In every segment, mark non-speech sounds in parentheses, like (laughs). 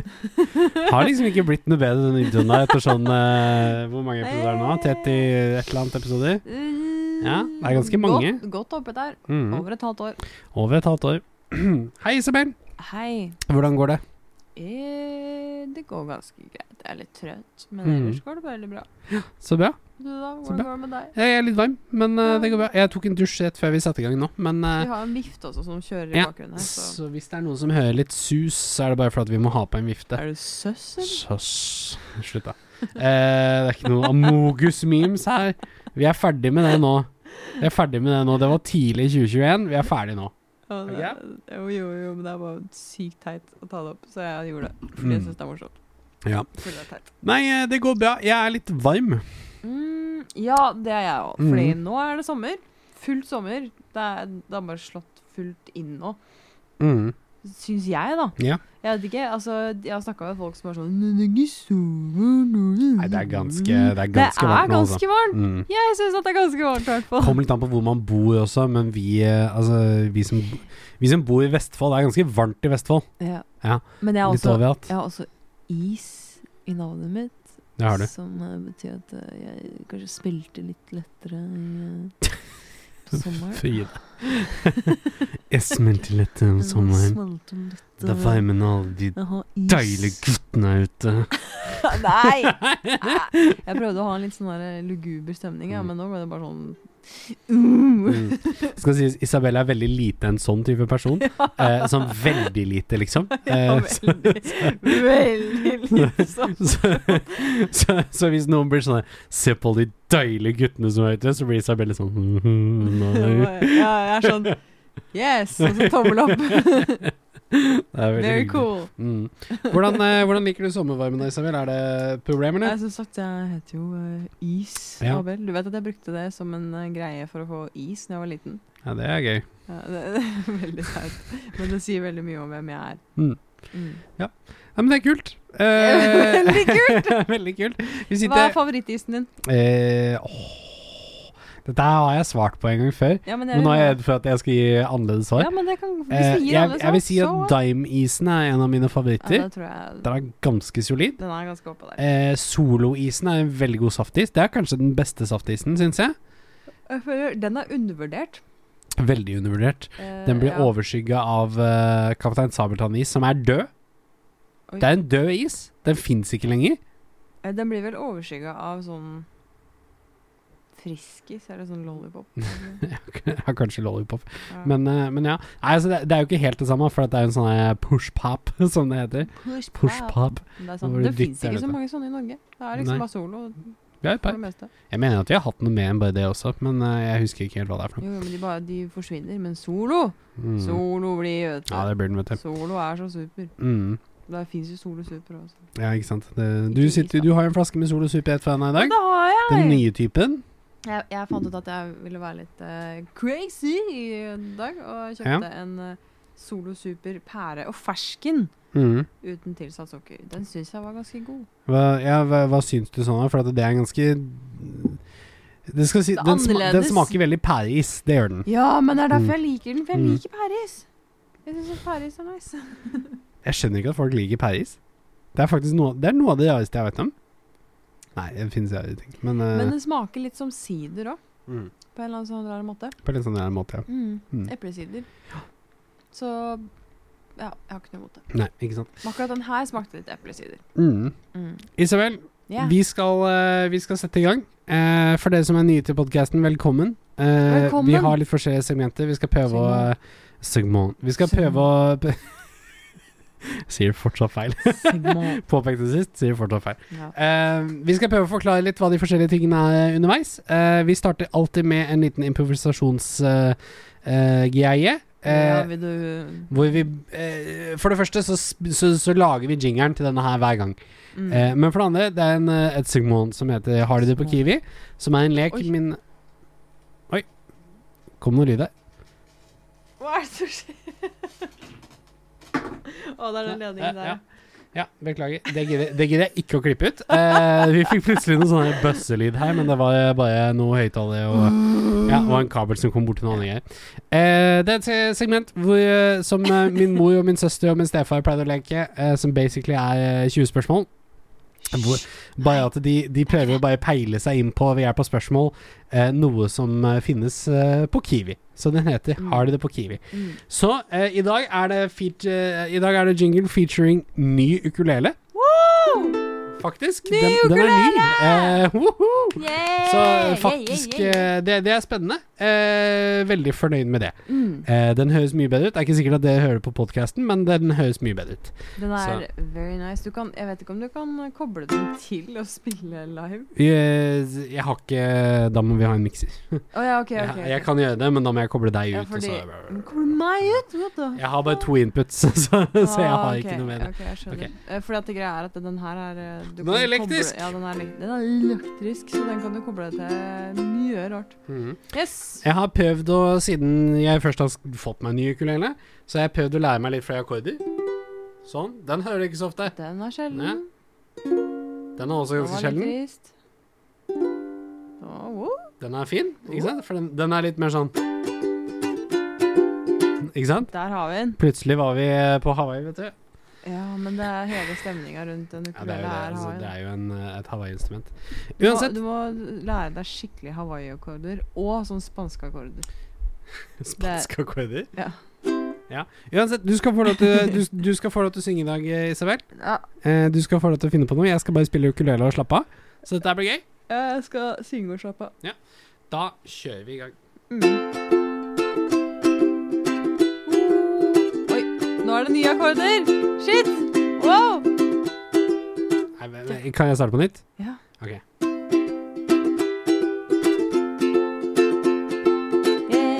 (laughs) Har liksom ikke (laughs) blitt noe bedre den videoen der etter sånn eh, Hvor mange episoder er det nå? 30 et eller annet episoder? Ja, det er ganske mange. Eh, Godt, godt oppe der. Mm. Over et halvt år. Over et halvt år. (clears throat) Hei, Isabel. Hei. Hvordan går det? Eh, det går ganske greit. Jeg er litt trøtt, men Mm. ellers går det veldig bra. Så bra. Du da, Så hvordan bra. går det med deg? Jeg er litt varm, men eh, det går bra. Jeg tok en dusj rett før vi satte i gang nå, men eh, Vi har en vift også som kjører i Ja, bakgrunnen her, så Så hvis det er noen som hører litt sus, så er det bare fordi vi må ha på en vifte. Er du søsser? Sjass. Slutt, da. Eh, det er ikke noe Amogus-memes her. Vi er ferdig med det nå. Vi er ferdig med Det nå Det var tidlig i 2021. Vi er ferdig nå. Ja, det, Ja. Jo, jo, jo, men det er bare sykt teit å ta det opp, så jeg gjorde det. Fordi jeg Mm. syns det er morsomt. Ja. Fordi det er teit. Nei, eh, det går bra. Jeg er litt varm. Mm, ja, det er jeg òg. Fordi Mm. nå er det sommer. Fullt sommer. Det er, det er bare slått fullt inn nå. Mm. Syns jeg, da. Ja. Jeg vet ikke, altså Jeg har snakka med folk som er sånn «Men det er ikke sommer nå». Nei, det er ganske, det er Det ganske varmt er nå, altså. ganske varmt. Mm. Jeg syns at det er ganske varmt, i hvert fall. Kommer litt an på hvor man bor også, men vi, eh, altså, vi, som, vi som bor i Vestfold Det er ganske varmt i Vestfold. Ja. Ja, Men jeg har, Litt også, overalt. jeg har også is i navnet mitt. Det har du. Som eh, betyr at eh, jeg kanskje spilte litt lettere i, eh, (laughs) på sommeren. Fy. (laughs) Jeg smelter litt eh, Mm, om sommeren. Smelte om litt. Det eh, varmer alle de jeg har is. deilige guttene her ute. (laughs) (laughs) Nei! Jeg prøvde å ha en litt sånn der luguber stemning, ja, Mm. men nå ble det bare sånn uh. Mm. Skal sies, Isabel er veldig lite en sånn type person. Eh, sånn veldig lite, liksom. (laughs) Ja, Eh, så, veldig, veldig lite sånn. så, så, så hvis noen blir sånn der, Se på de deilige guttene som er ute, så blir Isabel litt (laughs) sånn «Mhm, nei». Ja, jeg er sånn Yes! Og så tommel (laughs) opp. Det er veldig Very hyggelig. cool. Mm. Hvordan, eh, hvordan liker du sommervarmen, da, Isabel? Er det problemer, eller? Jeg som sagt, jeg heter jo eh, Is Ja. Abel. Du vet at jeg brukte det som en eh, greie for å få is da jeg var liten. Ja, det er gøy. Ja, (laughs) det, det er veldig teit. Men det sier veldig mye om hvem jeg er. Mm. Mm. Ja, men det er kult. Eh, (laughs) Veldig kult. (laughs) veldig kult. Vi Hva er sitter favorittisen din? eh, åh. Dette her har jeg svart på en gang før. Ja, men, jeg Men nå vil er jeg ha- redd for at jeg skal gi annerledes svar. ja, men det kan Hvis Eh, du gir jeg, alle sånn, jeg vil si så- at Dime-isen er en av mine ja, favoritter. det tror jeg, Den er ganske solid. Den er ganske oppe der. Eh, Solo-isen er en veldig god saftis. Det er kanskje den beste saftisen, syns jeg. Eh, Jeg føler Den er undervurdert. Veldig undervurdert. Eh, Den blir ja. overskygga av eh, Kaptein Sabeltann-is, som er død. Oi. Det er en død is. Den fins ikke lenger. (laughs) Eh, Den blir vel overskygga av sånn Friskis, eller sånn (laughs) lollipop. eller? Har kanskje lollipop. Ja. Men, eh, men ja. Nei, altså, det, det er jo ikke helt det samme, for det er jo en sånn eh, push-pop, (laughs) som det heter. Push pop. Push-pop. Det, er Nå sant. var det det fins dikt der, ikke så dette. mange sånne i Norge. Det er Nei. liksom bare solo Vi har et for par. det meste. Jeg mener at vi har hatt noe mer enn bare det også, men eh, jeg husker ikke helt hva det er for noe. Jo, jo, men de, bare, de forsvinner. Men solo, Mm. solo blir ødelagt. Ja, det blir den, vet du. Solo er så super. Mm. Det fins jo Solo Super også. Ja, ikke sant. Det, du, Ikke is, sitter, da. du har jo en flaske med Sol og Super 1 fra henne i Men dag. det har jeg! Den nye typen. jeg! Jeg fant ut at jeg ville være litt eh, crazy i dag, og kjøpte en eh, Solo Super pære og fersken Mm. uten tilsatt sukker. Den syns jeg var ganske god. Hva, ja, hva, hva syns du sånn, da? For at det er en ganske det skal si, Det er den, sma, den annerledes. smaker veldig pæreis, det gjør den. Ja, men det er Mm. derfor jeg liker den, for jeg Mm. Eh. liker pæreis. Jeg syns pæreis er nice. Jeg skjønner ikke at folk liker pæreis. Det er faktisk noe, det er noe av det rareste jeg vet om. Nei, det finnes rare ting, men, eh, Men den smaker litt som sider òg, mm, på en eller annen sånn rar måte. På en litt sånn rar måte, ja. Mm. Mm. Eplesider. Så ja, jeg har ikke noe imot det. Nei, ikke sant. Men akkurat den her smakte litt eplesider. Mm. Mm. Isabel, Yeah. vi, skal, eh, vi skal sette i gang. Eh, for dere som er nye til podkasten, velkommen. Eh, Velkommen. Vi har litt forskjellige segmenter. Vi skal prøve å eh, Segment. Vi skal Segment. prøve å p- (laughs) Sier fortsatt feil. (laughs) (laughs) Segment. Påpekte sist, sier fortsatt feil. Ja. Eh, vi skal prøve å forklare litt hva de forskjellige tingene er underveis. (laughs) Eh, vi starter alltid med en liten improvisasjonsgreie. Ja, Eh, vil du hvor vi eh, For det første så, sp- så, så lager vi jingeren til denne her hver gang. mm. Eh, men for det andre, det er en, eh, et Sigmund som heter Har de det på Kiwi? Som er en lek Oi. min Oi. Kom noe lyd der. Hva er det som skjer? Å, det er den Ja, ledningen ja, der. ja. Ja, beklager. Det gidder, det gidder jeg ikke å klippe ut. Eh, vi fikk plutselig noe sånn bøsselyd her, men det var bare noe høyttaler og Ja, og en kabel som kom bort til noen andre greier. Eh, det er et se- segment hvor, eh, som eh, min mor og min søster og min stefar pleide å leke, eh, som basically er eh, 20 spørsmål. Hvor, bare at de, de prøver å bare peile seg inn på ved hjelp av spørsmål eh, noe som eh, finnes eh, på Kiwi. Så den heter Mm. 'Har de det på Kiwi'. Mm. Så eh, i, dag er det feat, eh, i dag er det jingle featuring ny ukulele, Woo! faktisk. Ny den, den er ny! Eh, woho! Yeah! Så eh, yeah, faktisk, yeah, yeah. eh, Det, det er spennende. Eh, veldig fornøyd med det. Mm. Eh, den høres mye bedre ut. Det er ikke sikkert at dere hører på podkasten, men den høres mye bedre ut. Den er very nice. Du kan, jeg vet ikke om du kan koble den til å spille live. Jeg, eh, jeg har ikke Da må vi ha en mikser. Å ja, OK. ok, ok. Jeg, jeg kan gjøre det, men da må jeg koble deg ja, ut. og fordi, så- Koble meg ut? What the Jeg har bare to inputs, (laughs) så, så jeg har ikke noe med det. Ah, Ok, jeg skjønner. Eh, Fordi at det greia er at den her er eh, du Den kan er koble- elektrisk! ja, den er, elek- den er elektrisk, så den kan du koble til mye rart. Mhm. Yes! Jeg har prøvd å, siden jeg først har fått meg en ny ukulele, så har jeg prøvd å lære meg litt flere akkorder. Sånn. Den hører du ikke så ofte. Den er sjelden. Ja, Den er også Den ganske var litt sjelden. trist. Å, wow. Den er fin, ikke sant? For den, den er litt mer sånn Ikke sant? Der har vi den. Plutselig var vi eh, på Hawaii, vet du. Ja, men det er hele stemninga rundt den Ja, det er jo, det, ukulele her. altså, det Hawaii. er jo en, eh, et Hawaii-instrument. Du må- Uansett, Du må lære deg skikkelig Hawaii-akkorder og sånn spanske akkorder. spanske akkorder. Ja. Ja. Uansett, du skal, få lov til, du, du skal få lov til å synge i dag, eh, Isabel. Ja, Eh, du skal få lov til å finne på noe. Jeg skal bare spille ukulele og slappe av. Så dette her blir gøy. jeg skal synge og slappe av. Da kjører vi i gang. Mm. Oi, nå er det nye akkorder! Shit! Wow! Nei, men- men, kan jeg starte på (laughs) nytt? Ja. Eh, Ok.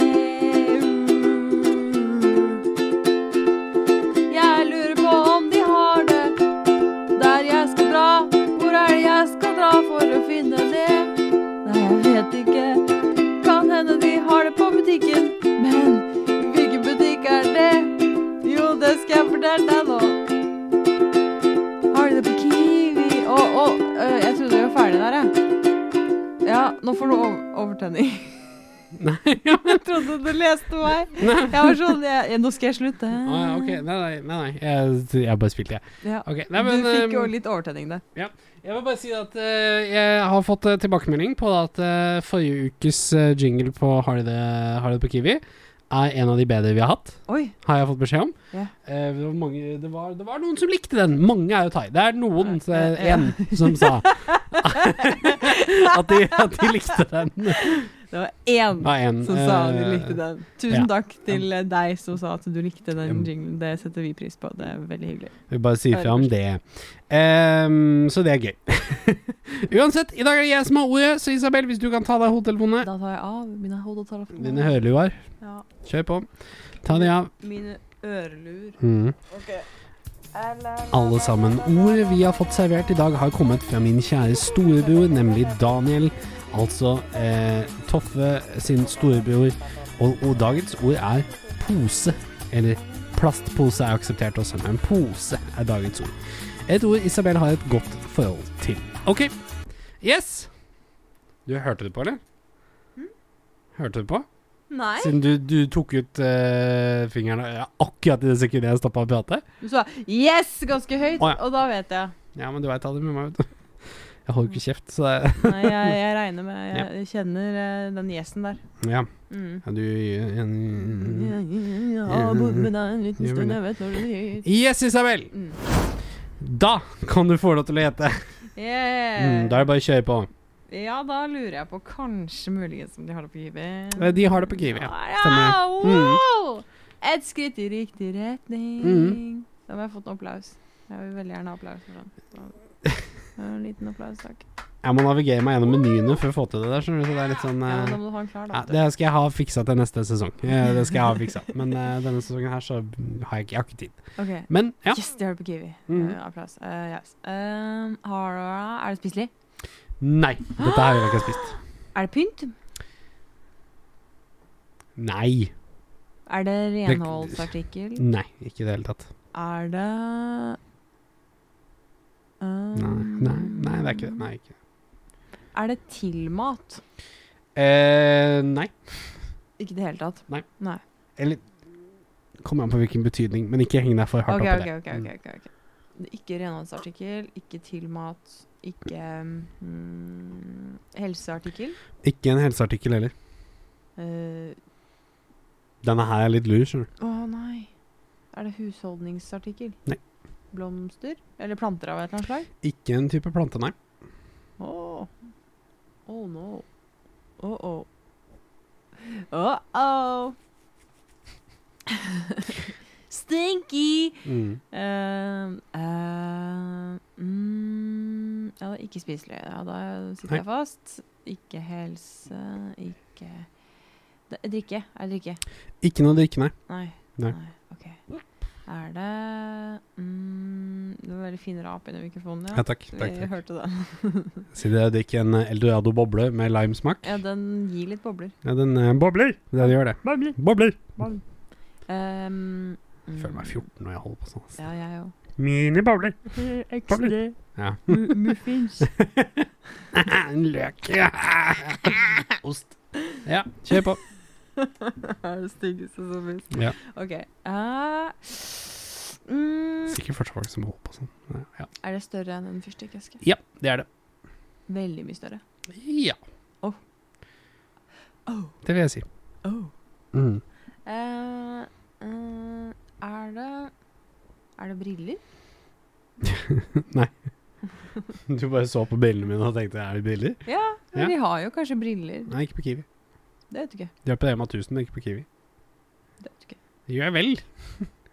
mm. Jeg lurer på om de har det der jeg skal dra. Hvor er det jeg skal dra for å finne det? Nei, jeg vet ikke. Kan hende de har det på butikken. Men hvilken butikk er det? Jo, det skal jeg fortelle deg nå. Har de det på Kiwi? Å, å, øh, jeg trodde vi var ferdig der, jeg. Ja, nå får du ov- overtenning. (laughs) Nei, Jeg trodde du leste meg. nei. Jeg var sånn jeg, jeg- Nå skal jeg slutte. Å, ja, ok. Nei, nei, nei, nei. Jeg, jeg bare spilte, jeg. Ja. Ok, nei, men, du fikk jo ehm, litt overtenning der. Jeg vil bare si at eh, jeg har fått eh, tilbakemelding på at eh, forrige ukes eh, jingle på Har de det har de det på Kiwi er en av de bedre vi har hatt, Oi. har jeg fått beskjed om. Ja. Eh, det, var mange, det, var, det var noen som likte den. Mange er jo thai. Det er noen, Ja, ja, eh, en, som sa (laughs) at, de, at de likte den. (laughs) Det Det var én var en, som sa eh, du likte den. Tusen takk til eh, deg som sa at du likte den jinglen. Det setter vi pris på. Det er veldig hyggelig. Vi bare sier fra om det. Ehm, så det er gøy. (laughs) Uansett, i dag er det jeg som har ordet, så Isabel, hvis du kan ta av deg hodetelefonene. Da tar jeg av mine Dine hodetelefoner. hørluer. Ja, Kjør på. Ta de av. mine øreluer. Mm. Ok. Alle sammen. Ordet vi har fått servert i dag, har kommet fra min kjære storebror, nemlig Daniel. Altså eh, Toffe sin storebror. Og, og dagens ord er pose. Eller plastpose er akseptert også, men pose er dagens ord. Et ord Isabel har et godt forhold til. OK. Yes. Du hørte det på, eller? Hørte du på? Nei. Siden du, du tok ut eh, fingeren ja, akkurat i det sekundet jeg stoppa å prate? Du sa 'yes' ganske høyt, Å, ja. og da vet jeg. Ja, men du veit aldri med meg, vet du. Jeg holder ikke kjeft, så det Nei, jeg, jeg regner med Jeg, jeg kjenner eh, den yes-en der. Ja, Mm. ja, du Ja, en- ja, Jeg har bodd med deg en liten Gjør stund, det. jeg vet når du gir Yes, Isabel! Mm. Da kan du få lov til å gjette. Yeah. Mm, da er det bare å kjøre på. Ja, da lurer jeg på kanskje muligens om de har det på Eh, Kiwi. De har det på Kiwi. ja. Ah, Stemmer. ja, wow! Et skritt i riktig retning. Mm. (laughs) Da må jeg fått en applaus. Jeg vil veldig gjerne ha applaus for den. Så, en liten applaus, takk. Ja, Jeg må navigere meg gjennom menyene for å få til det der, skjønner du. Så det er litt sånn Ja, men eh, da må du ha en klar, ja, da. Det skal jeg ha fiksa til neste sesong. Eh, Det skal jeg ha fiksa. (laughs) Men eh, denne sesongen her så har jeg ikke, jeg har ikke tid. Ok. Men ja. Yes, det har du på Kiwi. Mhm. Eh, applaus. Eh, yes. Um, har du- er det spiselig? Nei. Dette her vil jeg ikke ha spist. Er det pynt? Nei. Er det renholdsartikkel? Nei, ikke i det hele tatt. Er det um, Nei, nei, nei det er ikke det. Nei. Ikke. Er det tilmat? Eh, nei. Ikke i det hele tatt. Eller Kommer an på hvilken betydning, men ikke heng deg for hardt Ok, opp i ok, det. ok. ok, ok, ok. Det er Ikke renholdsartikkel, ikke tilmat, ikke mm, helseartikkel. Mm. Ikke en helseartikkel heller. Eh, Denne her er litt lur, skjønner du. Å nei. Er det husholdningsartikkel? Nei. Blomster? Eller planter av et eller annet slag? Ikke en type plante, nei. Åh. Oh no. Oh (laughs) oh. Oh oh. (laughs) Stinky! Mm. Ehm, ehm, mm, ja, det er ikke spiselig. Ja, da sitter Nei. jeg fast. Ikke helse, ikke det, Drikke. Er det drikke? Ikke noe drikke, nei. Nei. Nei. Ok. Er det mm, Det var veldig fin rap inni mikrofonen, Ja, ja. takk. Vi takk, takk. hørte den. Si det, drikk en eh, Eldorado boble med limesmak. Ja, den gir litt bobler. Ja, den eh, bobler. Det er det gjør det. Bobler. Bobler. Um, Jeg føler meg 14 når jeg holder på sånn. Ja, (laughs) jeg òg. Minibobler. (laughs) Ekstra Ja. (laughs) muffins. en løk. (laughs) Ost. Ja, kjør på. Det er det styggeste som fins. Ja. OK. eh, mm, Sikkert fortsatt folk som holder på sånn. Ja, er det større enn en fyrstikkeske? ja det er det. Veldig mye større. Ja. Åh. Åh. Det vil jeg si. Oh. Mm. Eh, eh, er det Er det briller? (laughs) Du bare så på brillene mine og tenkte er det briller? Ja, Ja. de har jo kanskje briller. Nei, ikke på Kiwi. Det vet du ikke. De er på Rema 1000, men ikke på Kiwi. Det vet du ikke. Det gjør jeg vel.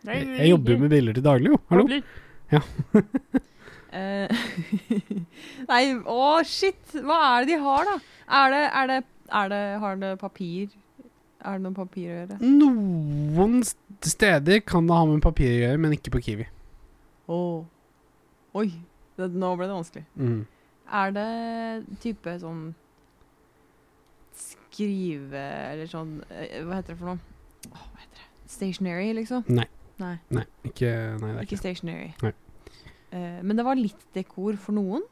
Jeg, jeg jobber jo med briller til daglig, jo. Hallo. Eh, (laughs) Nei, å shit! Hva er det de har, da? Er det, er det, er det Har det papir? Er det noe papir å gjøre? Noen st- steder kan det ha med papir å gjøre, men ikke på Kiwi. Åh. Oi, det, nå ble det vanskelig. Mm. Er det type sånn Skrive Eller sånn eh, Hva heter det for noe? Åh, hva heter det? Stationary, liksom? Nei. Nei, Nei, ikke Nei, det er ikke ikke det. stationary. Nei. Eh, men det var litt dekor for noen?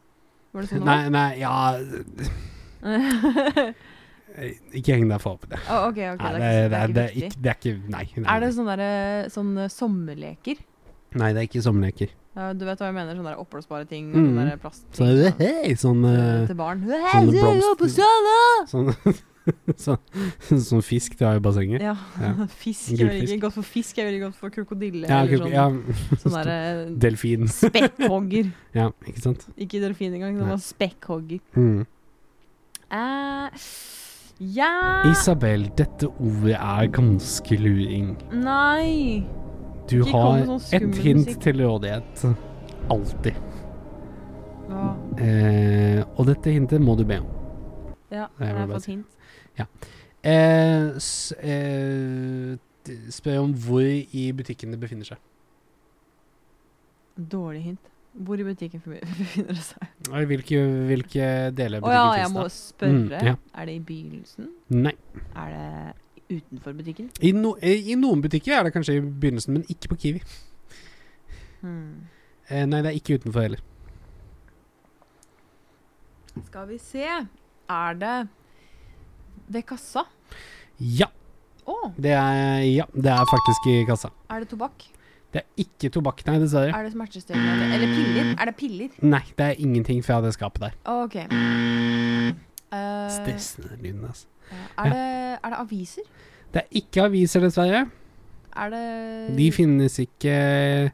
Var det sånn (laughs) Nei, nei, ja det var? eh, Ikke heng deg for opp i det. Å, ok, ok, Nei, det det, er det, ikke, det det, er ikke viktig. det er ikke Nei. nei, Er det sånn sånne, der, sånne eh, sommerleker? nei. nei det er ikke sommerleker. Ja, du vet hva jeg mener? Sånne der oppblåsbare ting? sånn Mm. Sånne der plastting? Så er det hei, sånn eh, til barn. sånne Hei, jeg går på blomster- stranda! Sånn, (laughs) sånn, sånn fisk de har i bassenget. Ja, Ja. (laughs) fisk er veldig Gullfisk. godt for fisk. Jeg er veldig godt for krokodille. Ja, eller kro- sånn, ja, (laughs) sånn derre delfin. spekkhogger. Ja, ikke sant? Ikke delfin engang, det Nei. var spekkhogger. Mm. Eh, ja Isabel, dette ordet er ganske luring. Nei. Du Ikke kom har med sånn et skummel hint musikk. til rådighet. Alltid. Hva? Eh, og dette hintet må du be om. Ja, Nei, jeg jeg må har bare fått si- hint. Eh, s eh, d- spør om hvor i butikken det befinner seg. Dårlig hint. Hvor i butikken (laughs) befinner det seg? Nei, Hvilke, hvilke deler av Å ja, butikken jeg finnes må det? spørre. Mm, ja. Er det i begynnelsen? Nei. Er det utenfor butikken? I, no, eh, I noen butikker er det kanskje i begynnelsen, men ikke på Kiwi. Hmm. Eh, nei, det er ikke utenfor heller. Skal vi se. Er det ved kassa? Ja, Å, det er, ja, det er faktisk i kassa. er det tobakk? Det er ikke tobakk, nei, dessverre. Er det smertestillende? Eller piller? Er det piller? Nei, det er ingenting fra det skapet der. Å, OK. Eh, Stressende lyden, altså. ja. er, det, er det aviser? Det er ikke aviser, dessverre. Er det De Mm. finnes ikke eh,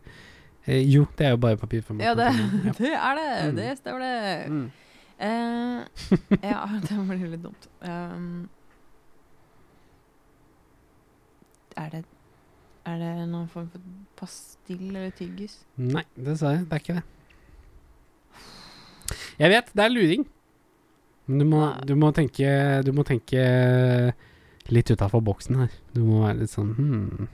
Jo, det er jo bare papirformat. Ja, det, (laughs) Ja. det (laughs) er det. Mm. Det stemmer, (laughs) det. Mm. Eh, ja, (laughs) det blir litt dumt. Um, er det Er det noen form for pastill eller tyggis? Nei, dessverre. Det er ikke det. Jeg vet, det er luring. Men du må, du må tenke Du må tenke litt utafor boksen her. Du må være litt sånn hmm.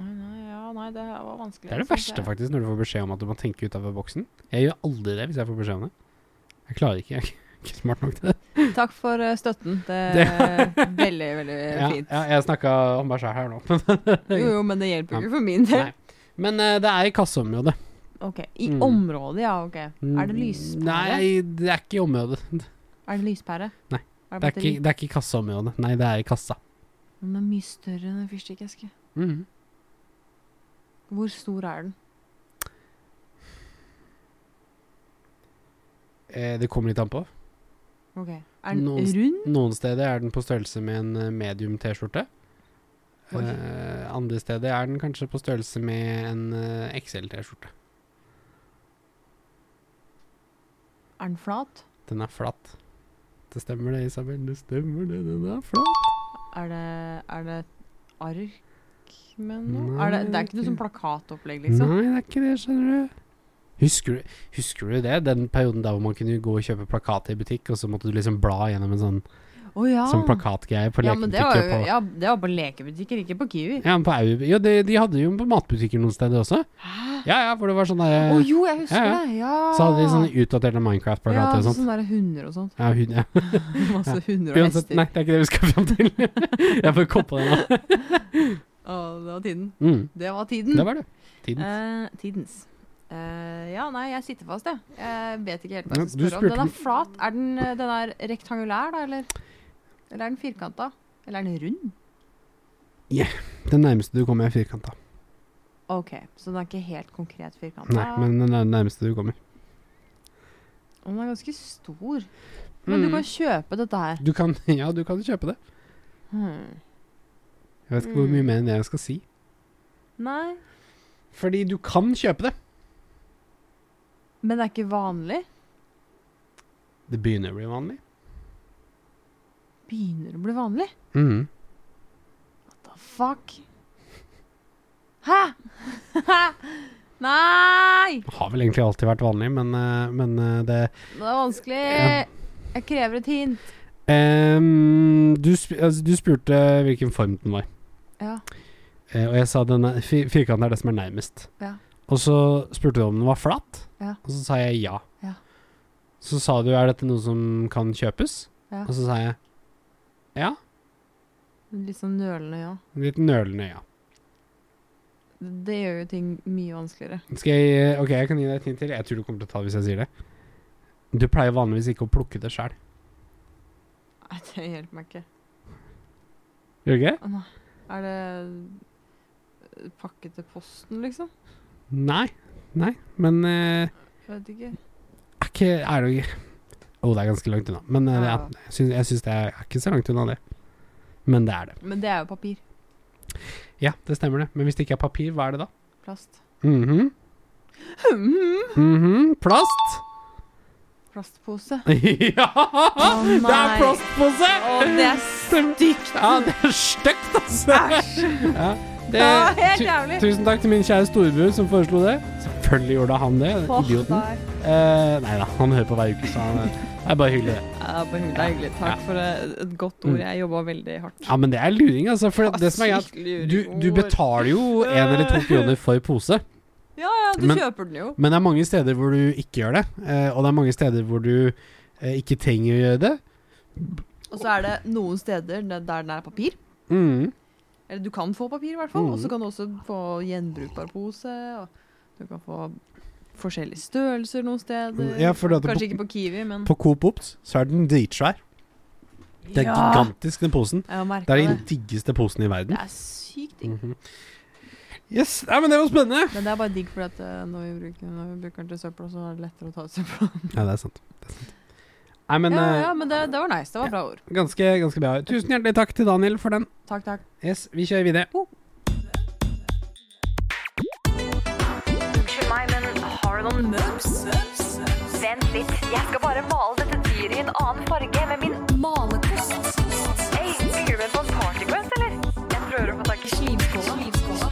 Oi, nei, ja, nei, det her var vanskelig. Det er det synes verste, jeg. faktisk, når du får beskjed om at du må tenke utafor boksen. Jeg gjør aldri det hvis jeg får beskjed om det. Jeg klarer ikke. Jeg er ikke- ikke smart nok til det. Takk for eh, støtten. Det er (laughs) Det- veldig, veldig (laughs) Ja, fint. ja, jeg snakka om meg sjæl her nå. (laughs) Jo, jo, men det hjelper Ja. jo ikke for min del. Nei. Men eh, det er i kasseområdet. Ok, I Mm. området, ja. ok. Er det Mm, lyspære? Nei, det er ikke i området. (laughs) Er det lyspære? Nei, Det Er det, er ikke, batteri? det er ikke i kasseområdet. Nei, det er i kassa. Men Den er mye større enn en fyrstikkeske. Mhm. Hvor stor er den? Eh, det kommer litt an på. Ok. Er den Noen s- rund? Noen steder er den på størrelse med en eh, medium T-skjorte. Oi. Eh, andre steder er den kanskje på størrelse med en eh, XL T-skjorte. Er den flat? Den er flat. Det stemmer det, Isabel. Det stemmer det, den er flat. Er det, er det et ark med noe? Er det, det er ikke noe Nei, sånn ikke- plakatopplegg, liksom? Nei, det er ikke det, skjønner du. Husker du, husker du det? Den perioden der hvor man kunne gå og kjøpe plakater i butikk, og så måtte du liksom bla gjennom en sånn, Å ja. sånn plakatgreie på ja, men det var, lekebutikker. jo, på, ja. ja, det var på lekebutikker, ikke på Kiwi. men på Au... Jo, de, de hadde jo på matbutikker noen steder også. Hæ? Ja, ja, for det var sånn Å derre jo, jeg husker ja, ja. det! Ja. Så hadde de sånne utdaterte ja, Minecraft-plakater og sånt. sånn derre hunder og sånt. (laughs) Ja, hun, ja. Masse hunder og Uansett, hester. nei, det er ikke det vi skal fram til. (laughs) jeg får komme på det nå. Å, det var tiden. Mm. Det var tiden. Det var det. Tiden. Eh, tidens. Eh, ja, nei, jeg sitter fast, jeg. Jeg vet ikke helt hva Ja, jeg skal du spørre spurte om. Den meg- er flat. Er den, eh, den er rektangulær, da, eller? Eller er den firkanta? Eller er den rund? Den nærmeste du kommer, er firkanta. OK, så den er ikke helt konkret firkanta. Nei, men den er den nærmeste du kommer. Og den er ganske stor. Men du Mm. kan kjøpe dette her. Du kan, (laughs) ja, du kan kjøpe det. Hmm. Jeg vet ikke hvor mye Mm. mer enn det jeg skal si. Nei, Fordi du kan kjøpe det. men det er ikke vanlig. Det begynner å bli vanlig. Begynner å bli vanlig. Mm. What the fuck? Hæ? (laughs) nei! Det har vel egentlig alltid vært vanlig, men, eh, men eh, det Det er vanskelig. Ja. Jeg krever et hint. Em, du, sp altså, du spurte hvilken form den var, Ja. Eh, og jeg sa den er- fir firkant er det som er nærmest. Ja. Og så spurte du om den var flat, Ja. og så sa jeg ja. Ja. Så sa du er dette noe som kan kjøpes, Ja. og så sa jeg ja. Litt sånn nølende, ja. Litt nølende ja. Det det gjør jo ting mye vanskeligere. Skal jeg, eh, ok, jeg kan gi deg et hint til. Jeg tror du kommer til å ta det hvis jeg sier det. Du pleier vanligvis ikke å plukke det sjøl. Nei, det hjelper meg ikke. Gjør du ikke? det? Å, nei. Er det pakke til posten, liksom? Nei. Nei. Men eh, Jeg vet ikke. er ikke Er det ikke Å, det er ganske langt unna. Men eh, det Ja. er- jeg syns- jeg syns det er, er ikke så langt unna, det. Men det er det. Men det er jo papir. Ja, det stemmer det. Men hvis det ikke er papir, hva er det da? Plast. Mhm. Hmm. Mhm. Plast! (laughs) Plastpose. ja! det er nei. plastpose! Å, det er stygt! Ja, (laughs) det er stygt, altså. Ja, det, Ja, helt tu- jævlig. Tusen takk til min kjære storebror som foreslo det. Selvfølgelig gjorde han det, Åh, idioten. der. Eh, nei da, han hører på hver uke, så han er bare hyggelig, det. Ja, det er bare hyggelig. Det er hyggelig. Takk for et et godt ord. Jeg jobba veldig hardt. Ja, men det er luring, altså. For det som er greit, du, du betaler jo én eller to kroner for pose, Ja, ja, du Men- kjøper den jo. men det er mange steder hvor du ikke gjør det. eh, Og det er mange steder hvor du eh, ikke trenger å gjøre det. Og så er det noen steder der der den er papir. Mm. Eller du kan få papir, i hvert fall. Og så Mhm. kan du også få gjenbrukbar pose. Og du kan få forskjellige størrelser noen steder. Ja, for det at Kanskje på- ikke på Kiwi, men På Coop Ops så er den dritsvær. Det er gigantisk, den posen. Jeg har merket Det er den det. diggeste posen i verden. Det er sykt digg. Mhm. Yes, nei, men det var spennende. Men det er bare digg fordi at eh, når vi bruker, når vi bruker den til søpla, så er det lettere å ta ut søpla. Ja, det er sant. Det er sant. Nei, men ja, eh, ja, men det, det var nice. Det var bra ord. Ganske, ganske bra. Tusen hjertelig takk til Daniel for den. Takk, takk. Yes, vi kjører videre. Oh. Unnskyld meg, men har du noen møbs? Vent litt, jeg skal bare male dette dyret i en annen farge med min malerkost. Hei, bygger du med på en partyquest, eller? Jeg prøver å få tak i slimskåla.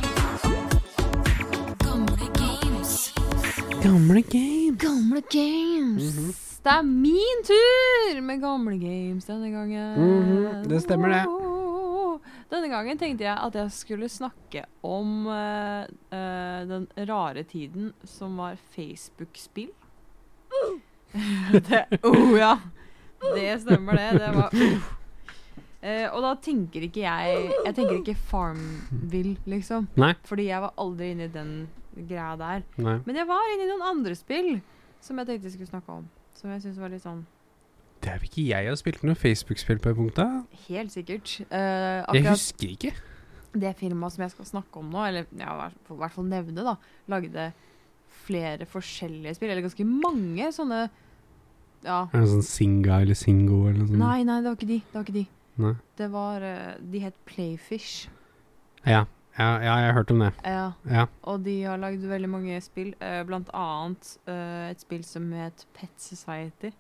Gamle game. Mhm. Gamle games. Det er min tur med gamle games denne gangen. Mhm, det stemmer det. Oh. Denne gangen tenkte jeg at jeg skulle snakke om eh, eh, den rare tiden som var Facebook-spill. (laughs) det Oh, ja. Det stemmer, det. Det var uh. Eh, og da tenker ikke jeg Jeg tenker ikke Farmville, liksom. Nei. Fordi jeg var aldri inne i den greia der. Nei. Men jeg var inne i noen andre spill som jeg tenkte jeg skulle snakke om. Som jeg synes var litt sånn Det er vel ikke jeg har spilt noe Facebook-spill på det punktet. Helt sikkert. Jeg eh, akkurat husker ikke. det firmaet som jeg skal snakke om nå, eller ja, i hvert- i hvert fall nevne, da, lagde flere forskjellige spill, eller ganske mange sånne Ja. Er det sånn Singa eller Singo eller noe sånt? Nei, nei, det var ikke de. Det var ikke de. Nei. Det var eh, De het Playfish. Ja. Ja, ja, jeg har hørt om det. Ja. Ja. Og de har lagd veldig mange spill, eh, blant annet eh, et spill som het Pet Society.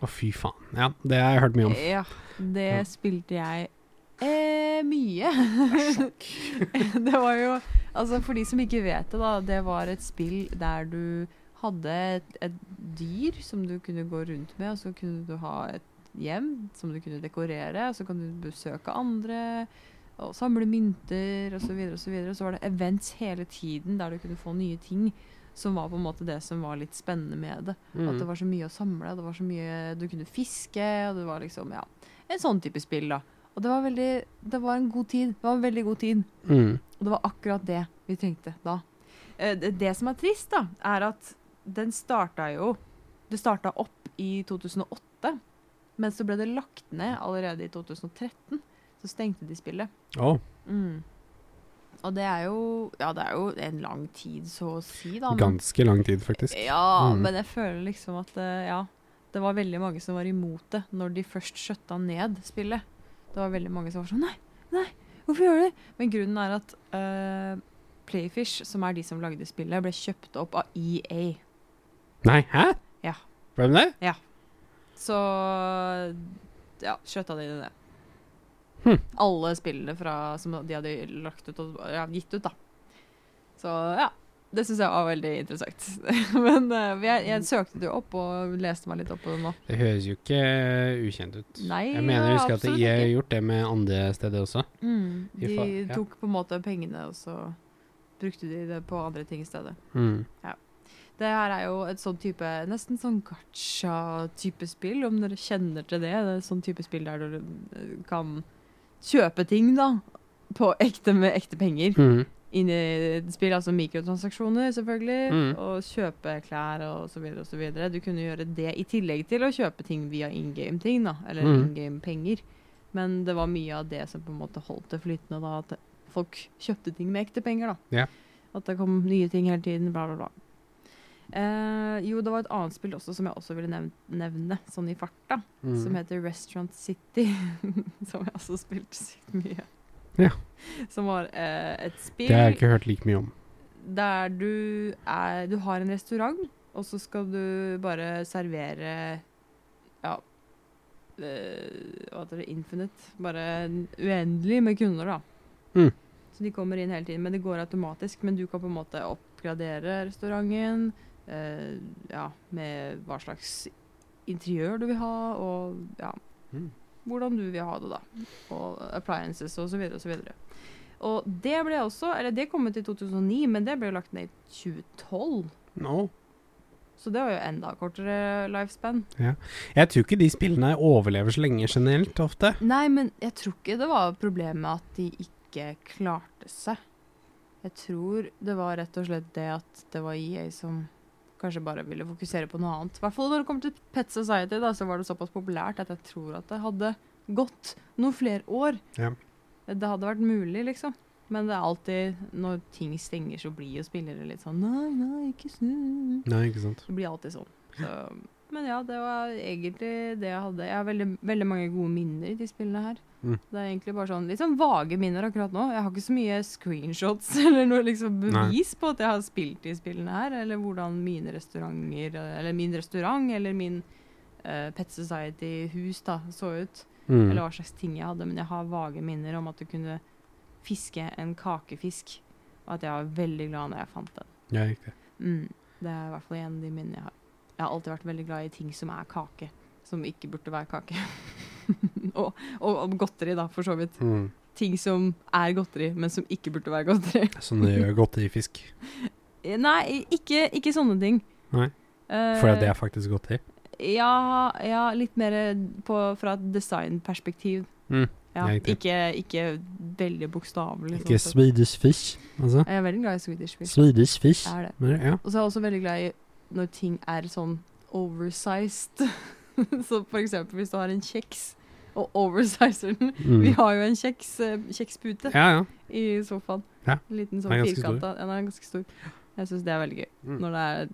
Å, fy faen. Ja, det har jeg hørt mye om. Ja, det Ja. spilte jeg eh, mye. (laughs) det var jo Altså, for de som ikke vet det, da, det var et spill der du hadde et, et dyr som du kunne gå rundt med, og så kunne du ha et hjem som du kunne dekorere, og så kan du besøke andre. Og samle mynter osv. Og, så videre. og så var det events hele tiden der du kunne få nye ting. Som var på en måte det som var litt spennende med det. Mm. At det var så mye å samle, og det var så mye du kunne fiske, og det var liksom, ja, en sånn type spill da. Og det var veldig, det var en god tid, det var en veldig god tid. Mm. Og det var akkurat det vi trengte da. Eh, Det, det som er trist da, er at den starta jo, det starta opp i 2008, men så ble det lagt ned allerede i 2013, så stengte de spillet. Å, Mm. Og det er jo, ja, det er jo en lang tid så å si da. men- ganske lang tid, faktisk. ja, Mm. men jeg føler liksom at eh, ja, det var veldig mange som var imot det når de først skjøtta ned spillet. Det var veldig mange som var sånn Nei, nei, hvorfor gjør du det? Men grunnen er at eh, Playfish, som er de som lagde spillet, ble kjøpt opp av E EA. Nei, hæ? Ja. Ble det det? Så ja, skjøtta de det. Hm. Alle spillene fra, som de hadde lagt ut og ja, gitt ut, da. Så ja. Det syns jeg var veldig interessant. (laughs) Men eh, jeg, jeg søkte det jo opp og leste meg litt opp på det nå. Det høres jo ikke eh, ukjent ut. Nei, Jeg mener jeg husker at absolutt jeg har ikke. gjort det med andre steder også. Mm, I de fa- ja. tok på en måte pengene, og så brukte de det på andre ting i stedet. Mm. Det her er jo et sånn type, nesten sånn gacha-type spill, om dere kjenner til det. Det er sånn type spill der du eh, kan kjøpe ting, da. På ekte med ekte penger. Mm. Inn i et spill, altså mikrotransaksjoner, selvfølgelig. Mm. Og kjøpe klær og så videre og så videre. Du kunne gjøre det i tillegg til å kjøpe ting via in game-ting, da. Eller Mm. in game-penger. Men det var mye av det som på en måte holdt det flytende, da. At folk kjøpte ting med ekte penger, da. Ja. At det kom nye ting hele tiden, bla, bla, bla. Eh, jo, det var et annet spill også som jeg også ville nevne, nevne sånn i farta. Mm. Som heter Restaurant City. (laughs) som jeg også spilte sykt mye. Ja. Som var eh, et Det har jeg spill ikke hørt like mye om. der du er Du har en restaurant, og så skal du bare servere Ja eh, Hva heter det? Infinite. Bare en- uendelig med kunder, da. Mm. Så de kommer inn hele tiden. Men det går automatisk. Men du kan på en måte oppgradere restauranten eh, ja, med hva slags interiør du vil ha, og ja Mm. hvordan du vil ha det, da. Og appliances og så videre og så videre. Og det ble også, eller det kom ut i 2009, men det ble jo lagt ned i 2012. No. Så det var jo enda kortere lifespan. Jeg tror ikke de spillene overlever så lenge generelt, ofte. Nei, men jeg tror ikke det var problemet at de ikke klarte seg. Jeg tror det var rett og slett det at det var EA som kanskje bare ville fokusere på noe annet. I hvert fall når det kom til Pet Society, da, så var det såpass populært at jeg tror at det hadde gått noen flere år. Ja. Det hadde vært mulig, liksom. Men det er alltid, når ting stenger, så blir jo spillere litt sånn Nei, nei, ikke snu. Nei, ikke sant. Det blir alltid sånn. Så, (laughs) men ja, det var egentlig det jeg hadde. Jeg har veldig, veldig mange gode minner i de spillene her. Mm. Det er egentlig bare sånn litt sånn vage minner akkurat nå. Jeg har ikke så mye screenshots (laughs) eller noe liksom bevis på at jeg har spilt de spillene her, eller hvordan mine restauranter Eller min restaurant eller min eh, Pet Society-hus da så ut. Mm. Eller hva slags ting jeg hadde. Men jeg har vage minner om at du kunne fiske en kakefisk, og at jeg var veldig glad når jeg fant den. Ja, riktig. Mm. Det er i hvert fall en av de minnene jeg har. Jeg har alltid vært veldig glad i ting som er kake, som ikke burde være kake. (laughs) og, og, og godteri, da, for så vidt. Mm. Ting som er godteri, men som ikke burde være godteri. Sånn det gjør godterifisk. Eh, Nei, ikke, ikke sånne ting. Nei. Eh, For det er faktisk godteri. Ja, ja litt mer på, fra et designperspektiv. Mm, Ja, jeg er riktig. ikke, ikke veldig bokstavelig. Ikke sånn sett. Swedish fish, altså. jeg er veldig glad i Swedish fish. Swedish fish. Jeg er det. Men, ja. Og så er jeg også veldig glad i når ting er sånn oversized. (laughs) så for eksempel hvis du har en kjeks og oversizer den. Mm. Vi har jo en kjeks, eh, kjekspute ja, ja. i sofaen. Ja. En liten sånn Den er ganske stor. firkanta. Ja, Den er ganske stor. Jeg syns det er veldig gøy. Mm. Når det er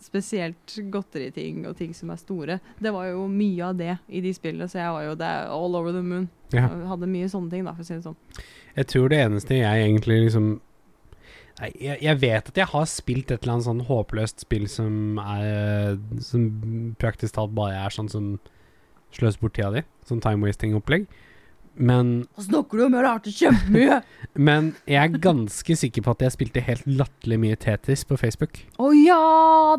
spesielt godteriting og ting som er store. Det var jo mye av det i de spillene, så jeg var jo der all over the moon. Ja. Jeg Hadde mye sånne ting, da, for å si det sånn. Jeg tror det eneste jeg egentlig liksom Nei, jeg, jeg vet at jeg har spilt et eller annet sånn håpløst spill som er Som praktisk talt bare er sånn som sløser bort tida di. Sånn time-wasting-opplegg. Men, Hva snakker du om? Jeg har lært det kjempemye! men jeg er ganske sikker på at jeg spilte helt latterlig mye Tetris på Facebook. Å ja,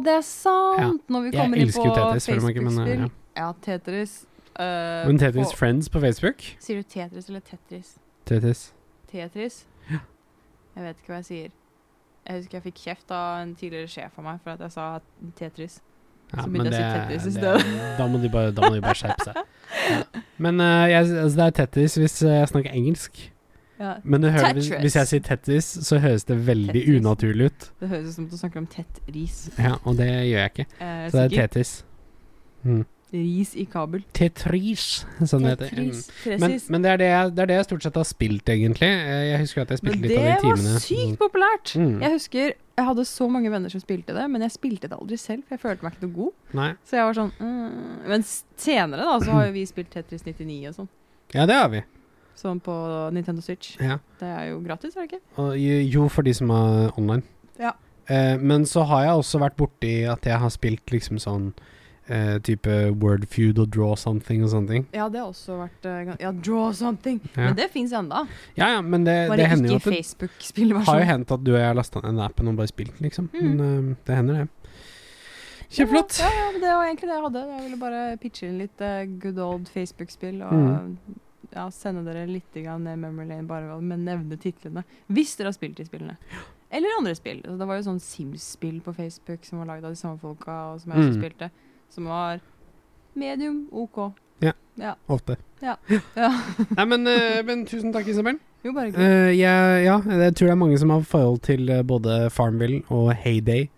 det er sant! Når vi Jeg kommer inn elsker på jo Tetris, føler meg ikke, men, Facebook-spill. ja. Ja, Tetris. eh, Men Tetris på- Friends på Facebook Sier du Tetris eller Tetris? Tetris. Tetris? Jeg vet ikke hva jeg sier. Jeg husker jeg fikk kjeft av en tidligere sjef av meg for at jeg sa Tetris. Ja, Så men begynte jeg å si det- Tetris i det- Da må de bare, da må de bare skjerpe seg. Ja. Men eh, jeg, altså det er Tetris hvis eh, jeg snakker engelsk. Ja, Men det hører, hvis, Tetris. hvis jeg sier Tetris, så høres det veldig Tetris. unaturlig ut. det høres ut som du snakker om tett ris. Ja, og det gjør jeg ikke. Eh, Så det er sikkert Tetris. Mm. ris i kabel. Tetris, som det heter. Mm. Men, Tetris. Tetris. men det, er det, jeg, det er det jeg stort sett har spilt, egentlig. Eh, Jeg husker at jeg Men spilte litt det av de var timene. sykt populært! Mm. Jeg husker jeg hadde så mange venner som spilte det, men jeg spilte det aldri selv, for jeg følte meg ikke noe god. Nei. Så jeg var sånn mm. Men s- senere da, så har jo vi spilt Tetris 99 og sånn. Ja, det har vi. Sånn på Nintendo Switch. Ja. Det er jo gratis, er det ikke? Og jo, jo, for de som er online. Ja. Eh, men så har jeg også vært borti at jeg har spilt liksom sånn eh, type word feud og draw something og sånne ting. Ja, det har også vært eh, gan- Ja, draw something! Ja. Men det fins enda. Ja, ja, men det, Bare det hender jo ikke at sånn. det har jo Facebook-spillversjon. hendt at du og jeg har lasta ned den appen og bare spilt den, liksom. Mm. Men øhm, det hender, det. Kjempeflott. Ja, ja, men det var egentlig det jeg hadde. Jeg ville bare pitche inn litt eh, good old Facebook-spill. Og Mm. ja, sende dere litt grann ned memory lane, bare ved å nevne titlene. Hvis dere har spilt de spillene. Eller andre spill. Altså, Det var jo sånn Sims-spill på Facebook som var lagd av de samme folka, og som jeg også Mm. spilte. Som var medium OK. Ofte. Ja. Ja. (laughs) Nei, men, øh, men tusen takk, Isabel. Jo, bare gøy. Eh, jeg, ja, jeg tror det er mange som har forhold til eh, både Farmville og Heyday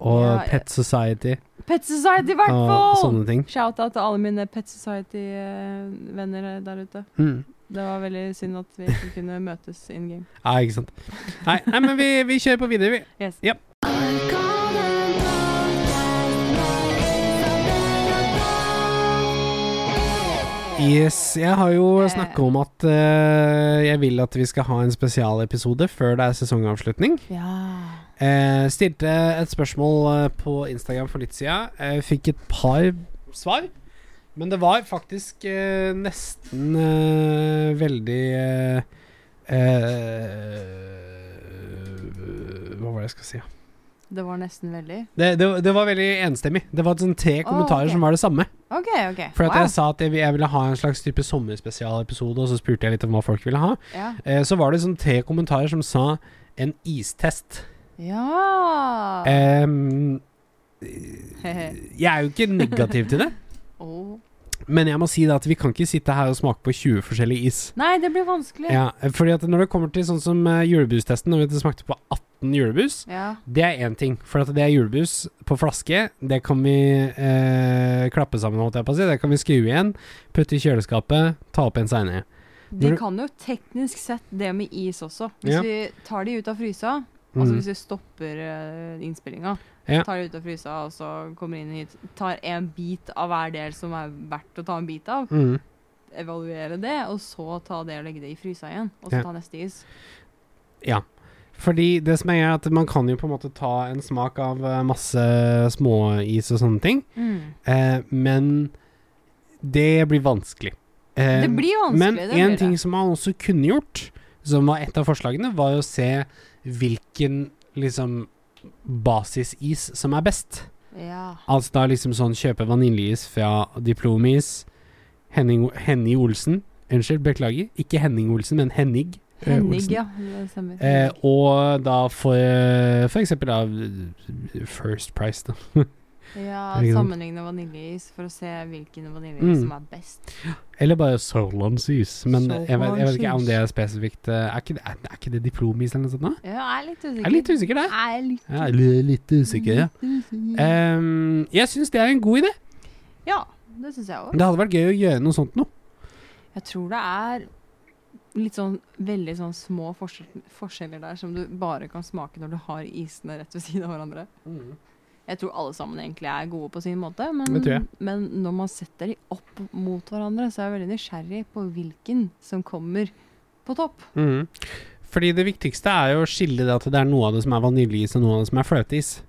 og Ja, jeg- Pet Society Pet Society, i hvert og fall! sånne ting. Shout-out til alle mine Pet Society-venner eh, der ute. Mm. Det var veldig synd at vi ikke kunne møtes in game. Ja, ikke sant. Nei, nei men vi, vi kjører på videre, vi. Yes. Ja. Yes, jeg har jo Eh. snakka om at eh, jeg vil at vi skal ha en spesialepisode før det er sesongavslutning. Ja. Eh, stilte et spørsmål eh, på Instagram for litt sida. Eh, fikk et par svar. Men det var faktisk eh, nesten eh, veldig eh, eh, Hva var det jeg skal si? Det var nesten veldig. Det, det, det var veldig enstemmig. Det var sånn tre Å, kommentarer ok. som var det samme. OK, OK. For at jeg sa at jeg, vil- jeg ville ha en slags type sommerspesialepisode, og så spurte jeg litt om hva folk ville ha. Ja. Eh, så var det sånn tre kommentarer som sa en istest. ja. Em, (laughs) Hehe. jeg er jo ikke negativ til det, Åh. men jeg må si det at vi kan ikke sitte her og smake på 20 forskjellige is. Nei, det blir vanskelig. Ja, fordi at når det kommer til sånn som eh, julebustesten, når vi smakte på 18 julebrus, Ja. det er én ting. For at det er julebrus på flaske, det kan vi eh, klappe sammen, holdt jeg på å si. Det kan vi skru igjen, putte i kjøleskapet, ta opp igjen seinere. De Når du- kan jo teknisk sett det med is også. Hvis Ja. Mm. vi tar de ut av frysa, altså hvis vi stopper uh, innspillinga, Ja. tar de ut av frysa og så kommer inn hit, tar en bit av hver del som er verdt å ta en bit av, Mm. evaluere det, og så ta det og legge det i frysa igjen, og så Ja. ta neste is. Ja. Fordi det som er at man kan jo på en måte ta en smak av eh, masse småis og sånne ting, eh, men det blir vanskelig. Eh, Det blir vanskelig. men det en blir ting det. som man også kunne gjort, som var et av forslagene, var jo å se hvilken liksom basisis som er best. Ja. Altså da liksom sånn kjøpe vaniljeis fra Diplomis. Henning, Henny Olsen. Unnskyld, beklager. Ikke Henning Olsen, men Henning. eh, Henning, Olsen. ja. Det stemmer. Eh, og da for, eh, for eksempel da First Price, da. ja, er ikke sant. sammenligne vaniljeis for å se hvilken vaniljeis Mm. som er best. Eller bare Solandsys. Men jeg vet, jeg vet ikke om Solandsys. det er spesifikt. eh, Er ikke det, er, er ikke det Diplomis eller noe sånt? da? Ja, jeg er litt usikker. Jeg er litt usikker der. Jeg er litt Ja, litt, litt usikker, ja. usikker. Ehm, jeg syns det er en god idé. ja, det syns jeg òg. Det hadde vært gøy å gjøre noe sånt noe. Jeg tror det er litt sånn veldig sånn små forskjell, forskjeller der som du bare kan smake når du har isene rett ved siden av hverandre. Mm. Jeg tror alle sammen egentlig er gode på sin måte, men, Det tror jeg. men når man setter de opp mot hverandre, så er jeg veldig nysgjerrig på hvilken som kommer på topp. Mhm. Fordi det viktigste er jo å skille det at det er noe av det som er vaniljeis, og noe av det som er fløteis.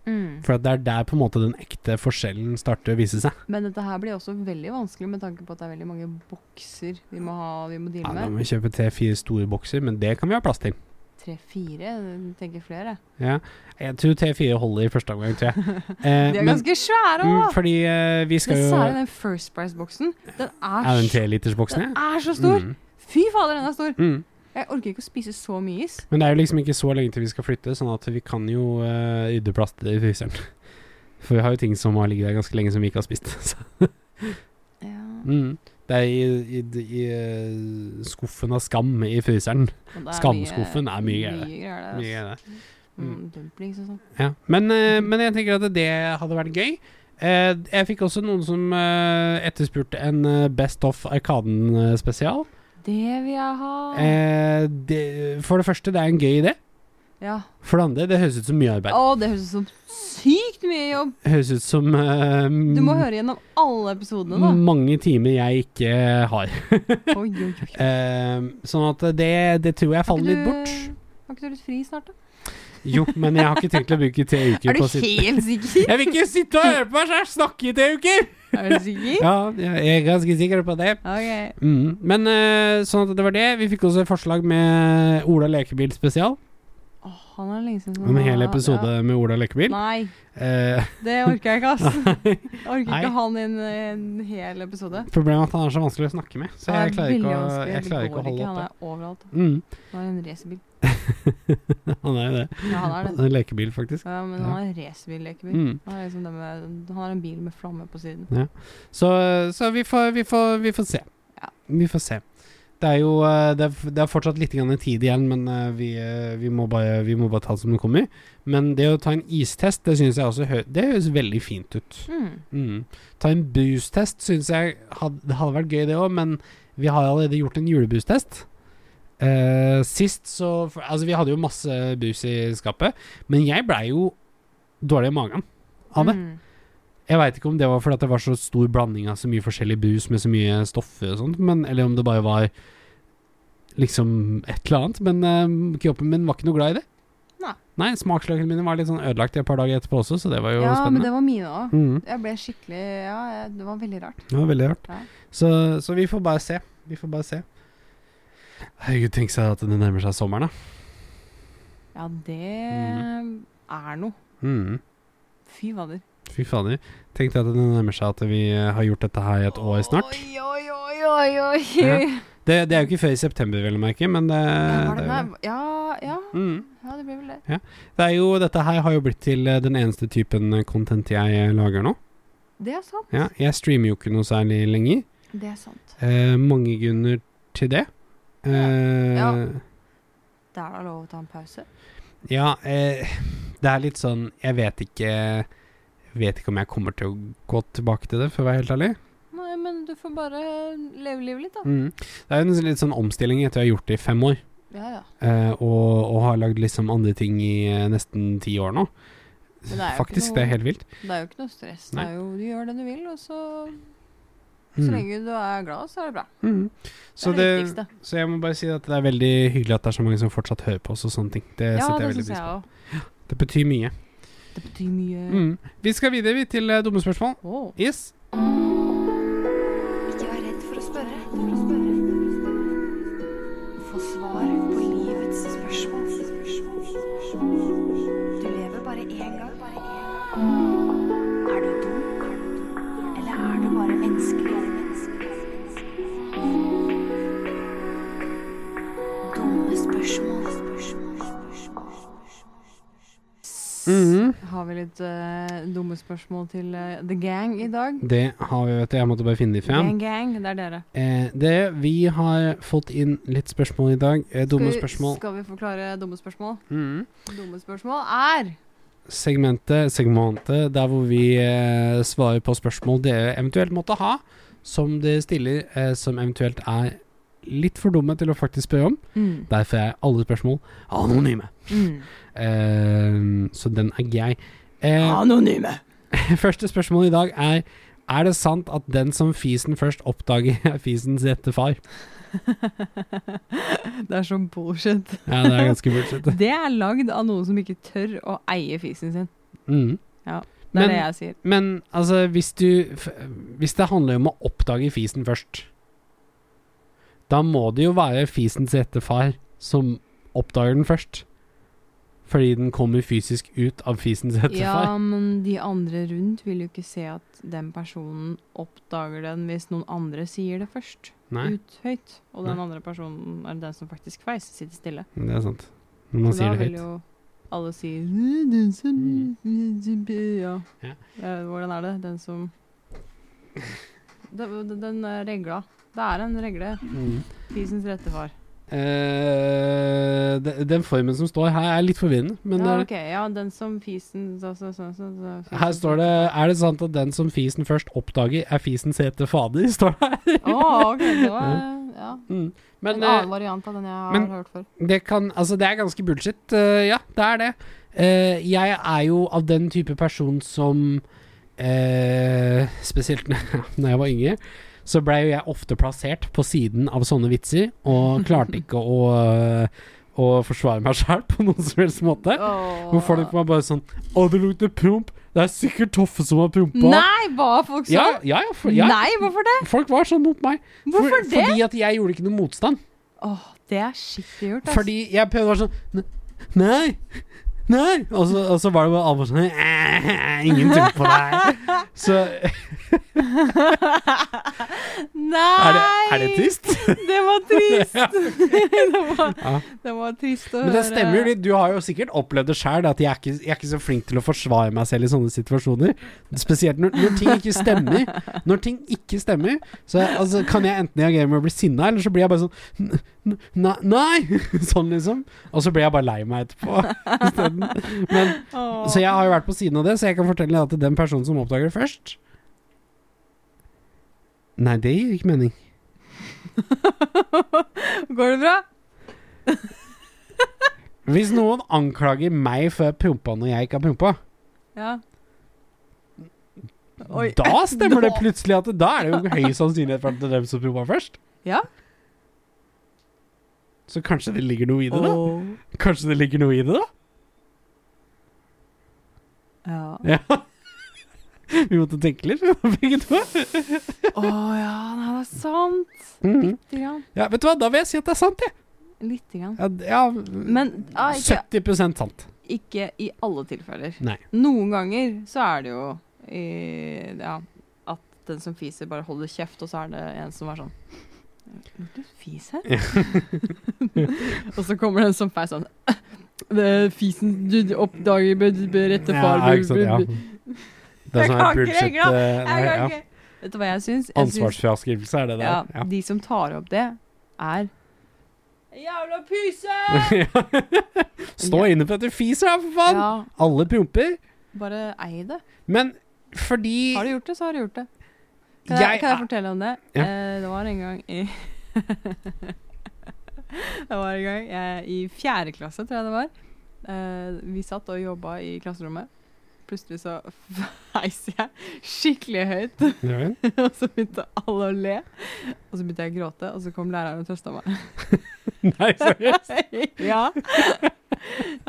For at det er der på en måte den ekte forskjellen starter å vise seg. Men dette her blir også veldig vanskelig med tanke på at det er veldig mange bokser vi må, ha, vi må Ja, deale da med. må vi kjøpe tre-fire store bokser, men det kan vi ha plass til. Tre-fire, jeg tenker flere. Ja. Jeg tror T4 holder i første omgang, tror jeg. (laughs) Eh, (laughs) De er men- ganske svære mm, òg! fordi eh, vi skal Men jo særlig den First Price-boksen. Den er, Er det en så- trelitersboksen, den ja? er så stor! Mm. Fy fader, den er stor! Mm. Jeg orker ikke å spise så mye is. Men det er jo liksom ikke så lenge til vi skal flytte, sånn at vi kan jo eh, rydde plass til det i fryseren. (laughs) For vi har jo ting som har ligget der ganske lenge som vi ikke har spist. (laughs) Så. Ja, Mm. Det er i, i, i eh, skuffen av skam i fryseren. Skamskuffen er mye greier, det. greier. der, Mye altså. er det. Mm, dumplings og sånn. Ja. Men, eh, men jeg tenker at det hadde vært gøy. Eh, jeg fikk også noen som eh, etterspurte en eh, Best of Arkaden-spesial. Det vil jeg ha! Eh, det, for det første, det er en gøy idé. ja. For det andre, det høres ut som mye Å, arbeid. det høres ut som sykt mye jobb! Høres ut som eh, Du må høre gjennom alle episodene, da. mange timer jeg ikke har. (laughs) Oi, oi, oi. Eh, sånn at det, det tror jeg Har faller ikke litt du- bort. Har ikke du litt fri snart, da? Jo, men jeg har ikke tenkt å bruke (laughs) tre uker Er du på å sitte (laughs) helt sikker? Jeg vil ikke sitte og høre på meg selv snakke i tre uker! (laughs) er du sikker? Ja, jeg er ganske sikker på det. Ok. Mm. Men eh, sånn at det var det. Vi fikk også et forslag med Ola Lekebil spesial. Åh, han er lenge siden Om en hel episode Ja. med Ola Lekebil. Nei, Eh, (laughs) det orker jeg ikke, ass. Jeg orker Nei. ikke han i en, en hel episode. problemet er at han er så vanskelig å snakke med, så jeg Det er klarer ikke veldig å, vanskelig. jeg Det klarer ikke å går holde Han oppe. er overalt. Mm. Han er en racerbil. (laughs) Han er jo det. Ja, han er (laughs) Han det. er en lekebil, faktisk. Ja, men han er en racerbil-lekebil. Mm. Han, er liksom det med- han har en bil med flamme på siden. Så, så vi, får, vi, får, vi får se. Ja. Vi får se. Det er jo eh, Det er, f- det er fortsatt litt grann tid igjen, men eh, vi, eh, vi, må bare, vi må bare ta det som det kommer. Men det å ta en istest, det synes jeg også hø Det høres veldig fint ut. Mm. Mm. Ta en brustest syns jeg had, det hadde vært gøy, det òg, men vi har allerede gjort en julebrustest. Eh, sist så for, Altså, vi hadde jo masse brus i skapet, men jeg blei jo dårlig i magen av det. Mm. Jeg veit ikke om det var fordi at det var så stor blanding av så mye forskjellig brus med så mye stoffer og sånt, men, eller om det bare var liksom et eller annet. Men eh, kroppen min var ikke noe glad i det. Nei. Nei, Smaksløkene mine var litt sånn ødelagt et par dager etterpå også, så det var jo Ja, men spennende. det var mine òg. Mm, Jeg ble skikkelig Ja, jeg- det var veldig rart. det var veldig rart. Ja. Så, så vi får bare se. Vi får bare se. Herregud, tenk seg at det nærmer seg sommeren, da. Ja, det Mm. er noe. Mm. Fy fader. Fy fader. Tenk deg at det nærmer seg at vi eh, har gjort dette her i et år snart. Oi, oi, oi, oi, oi. Ja. Det, det er jo ikke før i september, vel å merke, men det, Ja, var det, Eh, det er jo- nei, ja, ja, Mm. ja, det blir vel det. Det er jo, dette her har jo blitt til eh, den eneste typen eh, content jeg eh, lager nå. Det er sant. Ja, jeg streamer jo ikke noe særlig lenger. Det er sant. Eh, mange grunner til det. Eh, ja. Ja. Det er da lov å ta en pause. eh, det er litt sånn Jeg vet ikke Vet ikke om jeg kommer til å gå tilbake til det, for å være helt ærlig. Nei, men du får bare leve livet litt, da. Mm. Det er jo en litt sånn omstilling etter jeg har gjort det i fem år, Ja, ja. eh, og, og har lagd liksom andre ting i eh, nesten ti år nå. Men det er jo ikke Faktisk, noe- det er helt vilt. Det er jo ikke noe stress. Nei. Det er jo, du gjør det du vil, og så Så Mm. lenge du er glad, så er det bra. Mm. Det Så er det, det, viktigste. Så jeg må bare si at det er veldig hyggelig at det er så mange som fortsatt hører på oss og sånne ting. Det Ja, setter jeg det veldig syns pris jeg på. òg. Det betyr mye. Det betyr mye. Mm. Vi skal videre vi, til eh, dumme spørsmål. Åh. Yes. Ikke vær redd for å spørre. Få svar på livets spørsmål. Du lever bare én gang. Er du Har vi litt eh, dumme spørsmål til eh, The Gang i dag? Det har vi, vet du. Jeg måtte bare finne de fem. Gang, gang, det er dere. Eh, det, vi har fått inn litt spørsmål i dag. Eh, dumme skal vi, Mm. spørsmål. Skal vi forklare dumme spørsmål? Mhm. Dumme spørsmål er Segmentet, segmentet der hvor vi eh, svarer på spørsmål dere eventuelt måtte ha, som dere stiller, eh, som eventuelt er litt for dumme til å faktisk spørre om. mm, Derfor er alle spørsmål anonyme. mm. (laughs) Eh, så den er grei. Eh, Anonyme. (laughs) første spørsmål i dag er Er det sant at den som fisen først oppdager, (laughs) er fisens rette far? det er sånn (laughs) bullshit. Ja, det er ganske (laughs) bullshit. Det er lagd av noen som ikke tør å eie fisen sin. Mhm. Det er Men- det jeg sier. Men altså, hvis du f- Hvis det handler om å oppdage fisen først Da må det jo være fisens rette far som oppdager den først. Fordi den kommer fysisk ut av fisens rette far. Ja, men de andre rundt vil jo ikke se at den personen oppdager den hvis noen andre sier det først. Nei, Ut høyt. Og den Nei. andre personen er den som faktisk feis, sitter stille. det er sant. Når man Så sier da det vil høyt. jo alle si den som (laughs) Ja. Mm. Ja. Eh, Hvordan er det? Den som (laughs) Den, den- den eh, regla. Det er en regle. Mm. Fisens rette far. Eh, de- den formen som står her, er litt forvirrende, men det ja, er, ok. Ja, den som fisen så, så, så, så, så, så. her står det Er det sant at den som fisen først oppdager, er fisens rette fader? (laughs) Står det her. Å, ok. Det var ja. (laughs) Mm. en Men, eh, annen variant av den jeg har men- hørt før. Det kan Altså, det er ganske bullshit. eh, ja, det er det. Eh, jeg er jo av den type person som eh, Spesielt (laughs) når jeg var yngre, så blei jo jeg ofte plassert på siden av sånne vitser, og (laughs) klarte ikke å eh, å forsvare meg sjæl på noen som helst måte. Hvor folk var bare sånn Å, det lukter promp. Det er sikkert Toffe som har prompa. Nei, hva folk sa? Ja, ja, ja, for, ja. Nei, hvorfor det? Folk var sånn mot meg. Hvorfor for, det? Fordi at jeg gjorde ikke noe motstand. Åh, det er skittig gjort, ass. Fordi jeg prøvde å være sånn "Ne- Nei! Nei! Og så, og så var det bare alvor sånn "Eh, Ingen tror på deg. Så er (laughs) Nei! det, er det trist? (laughs) Det var (laughs) trist. (laughs) det, var, Ja. det var trist å høre. Men det stemmer jo litt. Du har jo sikkert opplevd det sjøl, at jeg er, ikke, jeg er ikke så flink til å forsvare meg selv i sånne situasjoner. Spesielt når, når ting ikke stemmer. Når ting ikke stemmer, så jeg- altså, kan jeg enten reagere med å bli sinna, eller så blir jeg bare sånn "N- n- Nei! nei." (laughs) Sånn, liksom. Og så blir jeg bare lei meg etterpå (laughs) isteden. Men Åh. (laughs) Så jeg har jo vært på siden av det, så jeg kan fortelle deg at den personen som oppdager det først Nei, det gir ikke mening. Går det bra? Hvis noen anklager meg for å prompe når jeg ikke har prompa, Ja. Oi. da (laughs) stemmer det Da- plutselig at det, da er det jo høy sannsynlighet for at det er dem som prompa først. Ja. Så kanskje det ligger noe i det, da? Åh. Kanskje det ligger noe i det, da? Ja. Ja. (laughs) Vi måtte tenke litt, begge to. Å ja, nei, det er sant. Mhm. Lite grann. Ja, vet du hva, da vil jeg si at det er sant, jeg. Lite grann. Ja, d- ja, Men ja, ikke, 70 sant. ikke i alle tilfeller. Nei. Noen ganger så er det jo i, ja, at den som fiser, bare holder kjeft, og så er det en som er sånn Lukter det fis her? (laughs) og så kommer den som feis sånn (laughs) det er Fisen du oppdager bør bør rette far Ja, ikke sant, ja. bør- bør- Det er Jeg sånn kan her ikke bullshit reglene. eh, nei, Jeg kan ja. ikke Vet du hva jeg syns? Jeg syns- Ansvarsfraskrivelse er det der. ja, De som tar opp det, (laughs) er Jævla pyse! Ja. (laughs) Stå inne for at du fiser, da, for faen! Ja, Alle promper. bare ei det. Men fordi Har du gjort det, så har du gjort det. Kan jeg, jeg, kan jeg fortelle om det? Ja. Eh, det var en gang i (laughs) Det var en gang jeg, i fjerde klasse, tror jeg det var. Eh, vi satt og jobba i klasserommet. Plutselig så (laughs) feis jeg skikkelig høyt, (laughs) Ja vel. og så begynte alle å le. Og så begynte jeg å gråte, og så kom læreren og trøsta meg. Nei, seriøst? (laughs) (laughs) ja.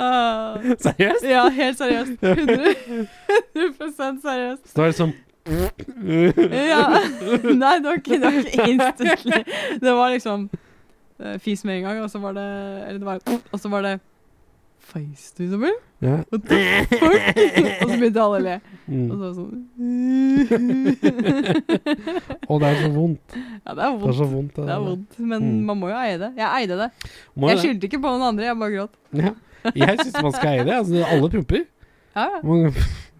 Ah, seriøst? ja, helt seriøst. 100, 100 Så seriøst. det var liksom Ja. (laughs) Nei, det var ikke, det var ikke instantly. Det var liksom eh, fis med en gang, og så var det Eller det var Og så var det Feis du, Isabel? ja. What the fuck? Og så begynte alle å le. Og så mm. var det sånn (laughs) Og det er så vondt. Ja, det er Det er vondt. så vondt. Det er vondt, men Mm. man må jo eie det. Jeg eide det. Må Jeg jeg skyldte ikke på noen andre, jeg bare gråt. ja. Jeg syns man skal eie det. Altså, alle promper. Ja, ja. Man,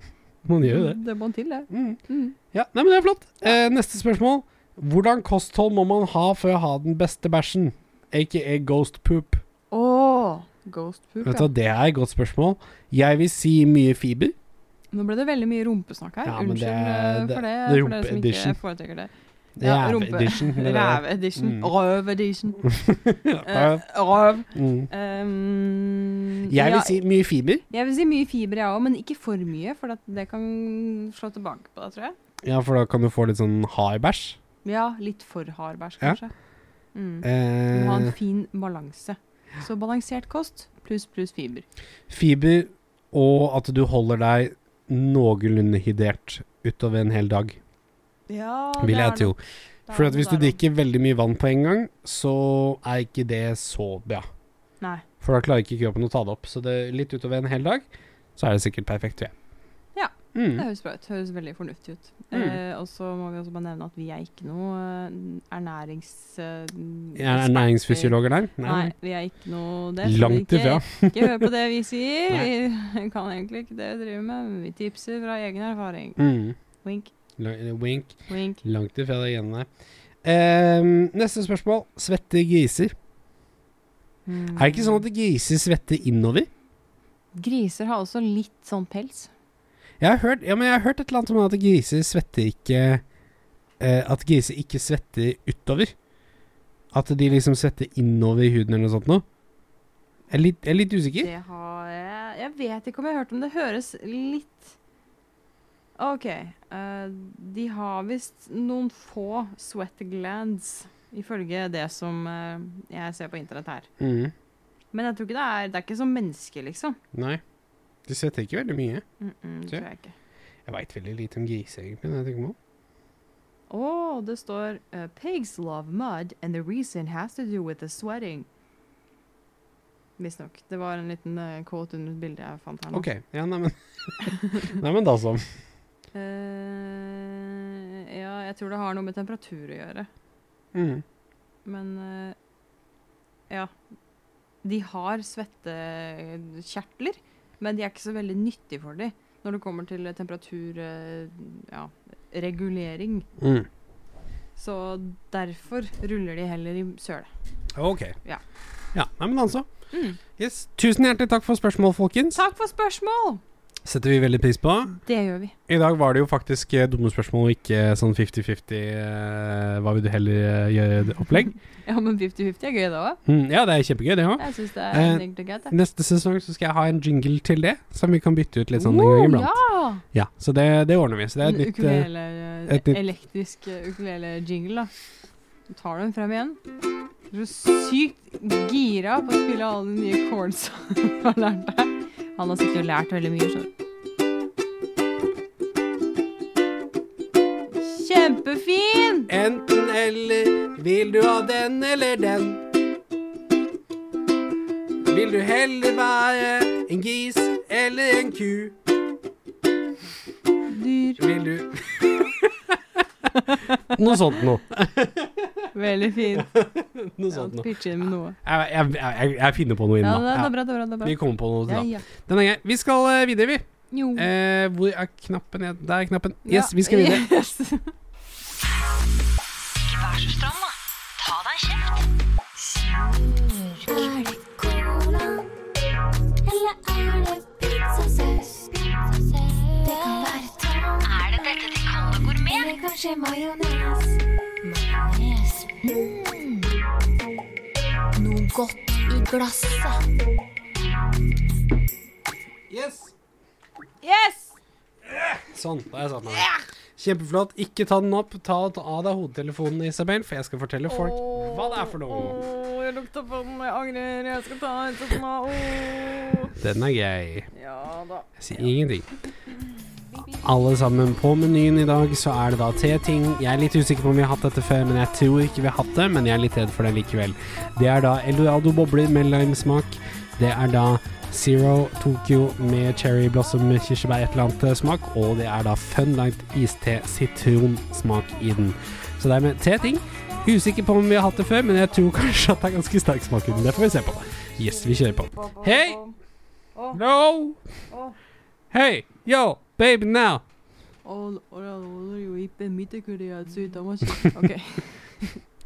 (laughs) man gjør jo det. Det må til, det. Mm. Mm. Ja, nei, men det er flott. Eh, neste spørsmål. Hvordan kosthold må man ha for å ha den beste bæsjen? Aka ghost poop. Åh, ghost poop, Vet du ja. hva, Det er et godt spørsmål. Jeg vil si mye fiber. Nå ble det veldig mye rumpesnakk her. Ja, men Unnskyld det eh, er- det- for det, det er for dere som rumpe-edition. ikke foretrekker det. Det er rumpe- edition, det der. (laughs) Ræv-edition. Mm. Røv-edition. Røv. Eh, Røv. Mm. Um, Jeg ja, vil si mye fiber. jeg vil si mye fiber, jeg òg, men ikke for mye, for at det kan slå tilbake på deg, tror jeg. Ja, for da kan du få litt sånn hard bæsj. Ja, litt for hard bæsj, Ja. kanskje. Mm. Du må ha Eh, en fin balanse. Så balansert kost pluss pluss fiber. fiber og at du holder deg noenlunde hydrert utover en hel dag, Ja, vil jeg tro. For at hvis du drikker veldig mye vann på en gang, så er ikke det så bra. Nei. For da klarer ikke kroppen å ta det opp. Så det, litt utover en hel dag, så er det sikkert perfekt, tror jeg. Ja. Det Mm. høres bra ut. Høres veldig fornuftig ut. Mm. Eh, og så må vi også bare nevne at vi er ikke noe eh, ernærings... Eh, Er det næringsfysiologer der? Nei. Nei. vi er ikke noe det. så Langt ikke- ifra. (laughs) Ikke hør på det (laughs) vi sier. Vi kan egentlig ikke det vi driver med, men vi tipser fra egen erfaring. Mm. Wink, Lang- Wink. wink. Langt ifra det greiene der. Ehm, neste spørsmål. Svette griser. Er det ikke sånn at griser svetter innover? Mm. Griser har også litt sånn pels. Jeg har hørt, ja, men jeg har hørt et eller annet om at griser svetter ikke eh, At griser ikke svetter utover. At de liksom svetter innover i huden eller noe sånt noe. Jeg er litt, jeg er litt usikker. Det har jeg Jeg vet ikke om jeg har hørt om det. Høres litt OK. eh, de har visst noen få sweat glands, ifølge det som eh, jeg ser på internett her. Mm. Men jeg tror ikke det er Det er ikke som mennesker, liksom. Nei. De svetter ikke veldig mye. Mm -mm, det Se. tror jeg ikke. Jeg veit veldig lite om griser, egentlig. Når jeg tenker meg om. Å, det står eh, Pigs love mud, and the reason has to do with the sweating. Visstnok. Det var en liten eh, quote under et bilde jeg fant her nå. OK. Ja, neimen Nei, men (laughs) da så. Eh, ja, jeg tror det har noe med temperatur å gjøre. Mm. Men eh, ja. De har svettekjertler, men de er ikke så veldig nyttige for dem når det kommer til eh, temperatur eh, ja, regulering. Mm. Så derfor ruller de heller i søle. OK. Ja. ja. Nei, men altså. Mm. Yes. Tusen hjertelig takk for spørsmål, folkens. Takk for spørsmål! Setter vi veldig pris på. Det gjør vi. I dag var det jo faktisk eh, dumme spørsmål og ikke eh, sånn 50-50 eh, hva vil du heller eh, gjøre opplegg. Ja, men 50-50 er gøy, det òg. Mm, ja, det er kjempegøy, det òg. Jeg syns det Eh, er egentlig greit, det. Neste sesong så skal jeg ha en jingle til det, som vi kan bytte ut litt sånn en gang iblant. Ja! Ja, så det, det ordner vi. Så det er En et nytt eh, ukulele, et nytt- elektrisk eh, ukulele-jingle, da. Du tar den frem igjen. Du er så sykt gira på å spille alle de nye chords (laughs) han har lært deg. Han har sikkert lært veldig mye, skjønner du. Kjempefin! Enten eller, vil du ha den eller den? Vil du heller være en gris eller en ku? Dyr. Vil du Noe sånt noe. Veldig (laughs) fint. Noe Ja, sånt noe. Pitch inn med noe. Jeg, jeg, jeg, jeg finner på noe inn, Ja, det da. er Ja. bra, det er bra. Det er bra. Vi kommer på noe til Ja, da. ja. Den er grei. Vi skal eh, videre, vi. Jo. Eh, hvor er knappen? Jeg- Der er knappen. Ja, Yes, vi skal (laughs) videre. yes. Vær så stram, da. Ta deg en kjeft. Er det cola? Eller er det pizzasaus? Det kan være tang. Er det dette de kaller gourmet? Eller kanskje majones? Majones. Mm. Noe godt i glasset. Yes. yes! Sånn, da har jeg satt meg ned. Kjempeflott. Ikke ta den opp. Ta ta av deg hodetelefonen, Isabel, for jeg skal fortelle folk hva det er for noe. Åh, jeg lukta på den, jeg angrer. Jeg skal ta den ut av meg. Åh. Den er grei. Ja da. Jeg sier ingenting. Alle sammen på menyen i dag, så er det da tre ting. Jeg er litt usikker på om vi har hatt dette før, men jeg tror ikke vi har hatt det. Men jeg er litt redd for det likevel. Det er da Eldorado bobler med limesmak. Det er da Zero Tokyo med cherry blossom kirsebær et eller annet smak. Og det er da Funlight iste sitronsmak i den. Så det er med tre ting. Usikker på om vi har hatt det før, men jeg tror kanskje at det er ganske sterk smak i den. Det får vi se på. Yes, vi kjører på. Hei! Hello! Åh. Hey, yo, baby now. All, all, all, all you eat and meat, could you add sweet and much? Ok,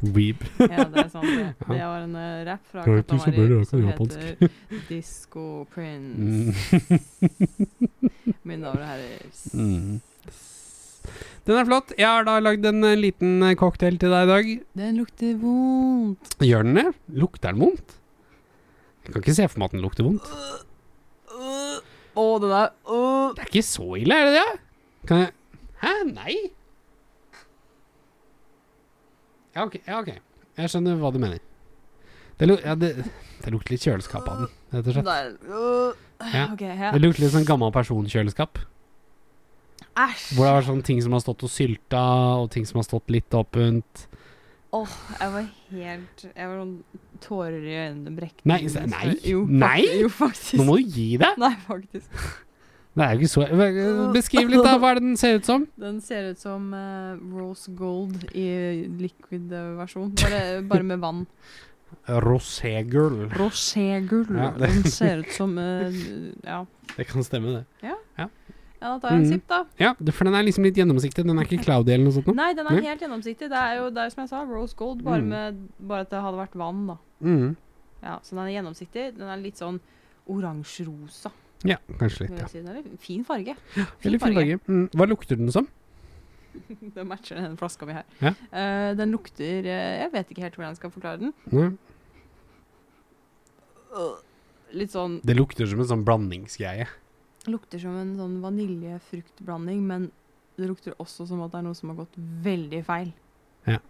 Weeb. ja, det er sant det. Det var en uh, rap fra Det er ikke så Mm. bra, Katamari jeg kan som japansk. heter (laughs) Disco Prince. Mine damer og Mm. herrer. Den er flott. Jeg har da lagd en eh, liten eh, cocktail til deg i dag. Den lukter vondt. Gjør den det? Lukter den vondt? Jeg kan ikke se for meg at den lukter vondt. Øh. Å, den er øh. Det er ikke så ille, er det det? Kan jeg Hæ? Nei? Ja, ok. Ja, ok. Jeg skjønner hva du mener. Det, lu ja, det, det lukter litt kjøleskap av den, rett og slett. Der. Øh. Ja. Ok, ja. Det lukter litt sånn gammel person-kjøleskap. Æsj. Hvor det har vært sånn ting som har stått og sylta, og ting som har stått litt åpent. Åh, jeg var helt Jeg var sånn tårer i øynene brekte. Nei, se- nei, Jo, nei. fakt- Jo, faktisk. Nå må du gi deg! (laughs) Nei, faktisk. Det er jo ikke så Beskriv litt, da. Hva er det den ser ut som? Den ser ut som eh, rose gold i liquid-versjon. Bare, bare med (laughs) vann. Roségull. Roségull. Ja, det- (laughs) Den ser ut som eh, Ja. Det kan stemme, det. ja, da tar jeg en Mhm. sipp, da. Ja, det- for den er liksom litt gjennomsiktig. Den er ikke cloudy eller noe sånt noe. Nei, den Nei. er helt gjennomsiktig. Det er jo det er jo som jeg sa, rose gold, bare, Mhm. med, bare at det hadde vært vann, da. Mm. Ja, så den er gjennomsiktig. Den er litt sånn oransjerosa. Ja, kanskje vil litt, ja. jeg si. Den er litt Fin farge. Veldig fin farge. Mm. Hva lukter den som? (laughs) Det matcher den flaska vi har. Ja. Eh, den lukter eh, Jeg vet ikke helt hvordan jeg skal forklare den. Mm. Litt sånn Det lukter som en sånn blandingsgreie. Lukter som en sånn vaniljefruktblanding, men det lukter også som at det er noe som har gått veldig feil. Ja.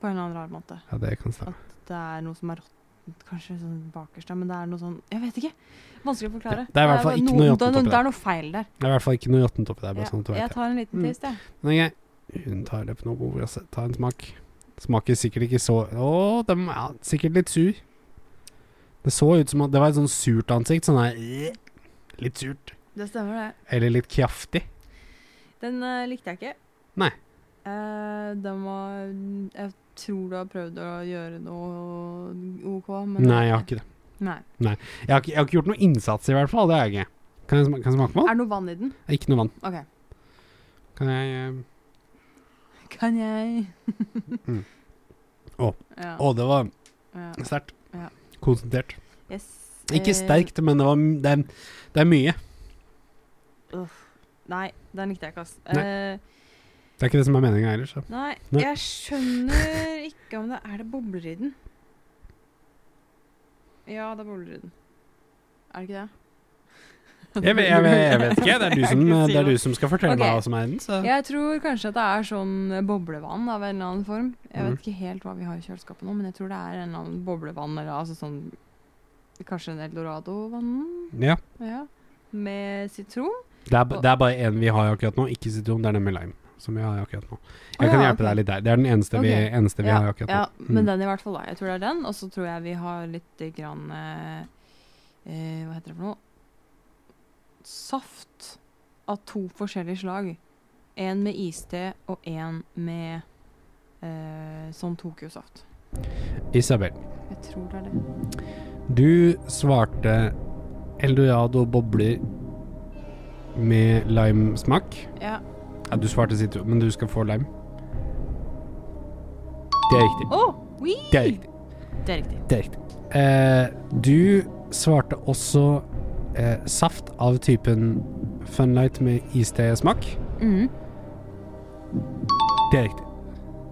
På en eller annen rar måte. Ja, det kan stemme. Det er noe som er råttent, kanskje sånn bakerst der, men det er noe sånn Jeg vet ikke. Vanskelig å Ja, forklare. det er i hvert fall bare ikke noe det, er råttent oppi det er noe feil der. Det er i hvert fall ikke noe jottent oppi der. Bare Ja, sånn at du jeg vet det. tar en liten Mm. test, jeg. Men jeg- Hun tar det på noe glasset. Ta en smak. Smaker sikkert ikke så Å, den er sikkert litt sur. Det så ut som at det var et sånn surt ansikt. Sånn her Litt surt. Det stemmer, det. Eller litt kraftig. Den eh, likte jeg ikke. Nei. Eh, den var Jeg tror du har prøvd å gjøre noe OK, men Nei, jeg har ikke det. Nei. Jeg har ikke, jeg har ikke gjort noe innsats, i hvert fall. Det har jeg ikke. Kan jeg, sma- kan jeg smake på Er den? det noe vann i den? Ikke noe vann. OK. Kan jeg eh, Kan jeg (laughs) Mm. Å. Å. Ja. eh, Å, det var ja. sterkt. Ja. Konsentrert. Yes. eh, Ikke sterkt, men det, var, m- det, er- det er mye. Nei, den likte jeg ikke, ass. Nei. Eh, Det er ikke det som er meninga heller. Så. nei, Nei. jeg skjønner ikke om det Er det bobler i den? Ja, det er bobler i den. Er det ikke det? Jeg, vet- jeg, vet- jeg vet ikke. Det (laughs) er du som, Jeg kan ikke si det er noe. du som skal fortelle Ok. meg hva som er i den. Så. Jeg tror kanskje at det er sånn boblevann av en eller annen form. Jeg Mhm. vet ikke helt hva vi har i kjøleskapet nå, men jeg tror det er en eller annen boblevann eller altså sånn Kanskje en eldorado-vann? Ja. Ja. Med sitron? Det, er, b- det er bare én vi har akkurat nå. Ikke sitron, det er den med lime. Som vi har akkurat nå. Jeg Å, kan ja, hjelpe ok. deg litt der. Det er den eneste vi, Ok. eneste vi ja, har akkurat ja, nå. Mm. men den i hvert fall, da. Jeg tror det er den. Og så tror jeg vi har litt grann eh, eh, Hva heter det for noe? Saft av to forskjellige slag. En med iste og en med eh, sånn Tokyo-saft. Isabel, Jeg tror det er det. du svarte Eldorado bobler med limesmak. Ja. Ja, du svarte sitron, men du skal få lime. Det er riktig. Å! oui! Det er riktig. Det er riktig. Det er riktig. Eh, du svarte også eh, saft av typen Funlight med iste-smak. Mhm. Det er riktig.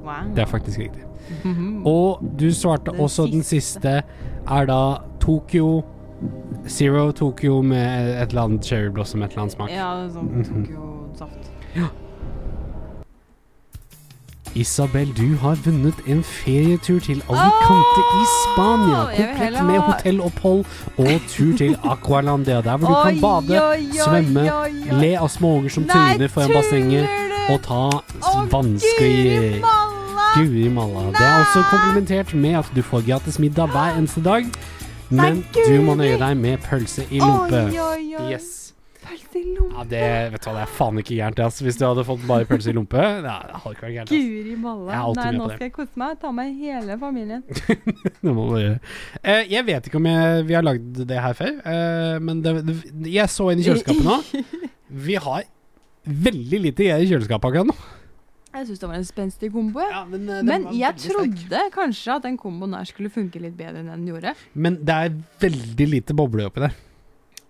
Wow. Det er faktisk riktig. Mhm. Og du svarte også den siste er da Tokyo Zero Tokyo med et eller annet cherry blossom, et eller annet smak. Ja, det er Mhm. sånn Tokyo-saft. Isabel, du har vunnet en ferietur til Alicante i Spania. Åh, jeg vil Komplett heller med ha- hotellopphold og tur (laughs) til Aqualandia, der hvor du kan bade, svømme, le av småunger som tryner foran bassenget, og ta s- Guri vannskli. malla! Guri malla. Det er også komplementert med at du får gratis middag hver eneste dag, men du må nøye deg med pølse i Oi, lompe. oi, oi. Yes. Pølse i lompe. Ja, det, vet du hva, det er faen ikke gærent, ass. Hvis du hadde fått bare pølse i lompe, ja, det hadde ikke vært gærent. ass. Guri malla. Jeg er alltid Nei, med på nå det. skal jeg kose meg. Ta med hele familien. Det må man gjøre. Eh, jeg vet ikke om jeg, vi har lagd det her før, eh, men det, det, jeg så inn i kjøleskapet nå. Vi har veldig lite i kjøleskapet akkurat nå. Jeg syns det var en spenstig kombo. jeg. men Men eh, jeg trodde kanskje at den komboen her skulle funke litt bedre enn den gjorde. Men det er veldig lite boble oppi der.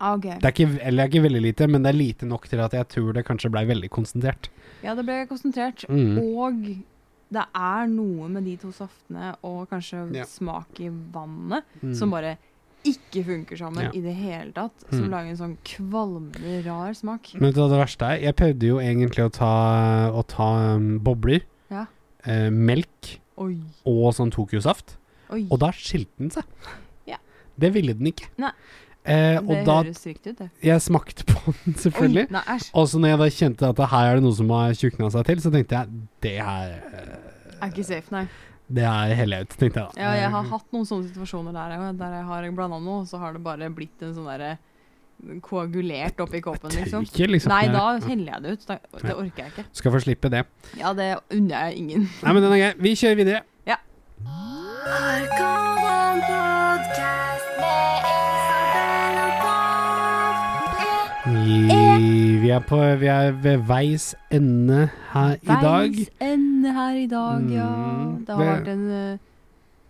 Ah, ok. Det er ikke, eller det er ikke veldig lite, men det er lite nok til at jeg tror det kanskje blei veldig konsentrert. Ja, det ble konsentrert. Mm. Og det er noe med de to saftene og kanskje Ja. smak i vannet Mm. som bare ikke funker sammen Ja. i det hele tatt. Som Mm. lager en sånn kvalmende, rar smak. Men vet du hva det verste er? Jeg prøvde jo egentlig å ta, å ta um, bobler, Ja. eh, melk Oi, og sånn Tokyo-saft, oi. og da skilte den seg. Ja. Det ville den ikke. Nei. Eh, og det da høres riktig ut, det. Jeg smakte på den, (laughs) selvfølgelig. Oi, nei, æsj. Og så når jeg da kjente at her er det noe som har tjukna seg til, så tenkte jeg det her eh, Er ikke safe, nei. Det er hele ut, tenkte jeg da. Ja, jeg har hatt noen sånne situasjoner der, jeg, der jeg har blanda noe, og så har det bare blitt en sånn derre koagulert oppi koppen, liksom. Ikke, liksom. Nei, Jeg da heller jeg det ut. Da, det orker jeg ikke. Skal få slippe det. Ja, det unner jeg ingen. Nei, men den er grei. Vi kjører videre. Arkoven podcast med Isabel og Bob. Eh. Vi vi er, på, vi er ved veis ende her i dag. Veis ende her i dag, ja. Mm, Det har det- vært en, eh,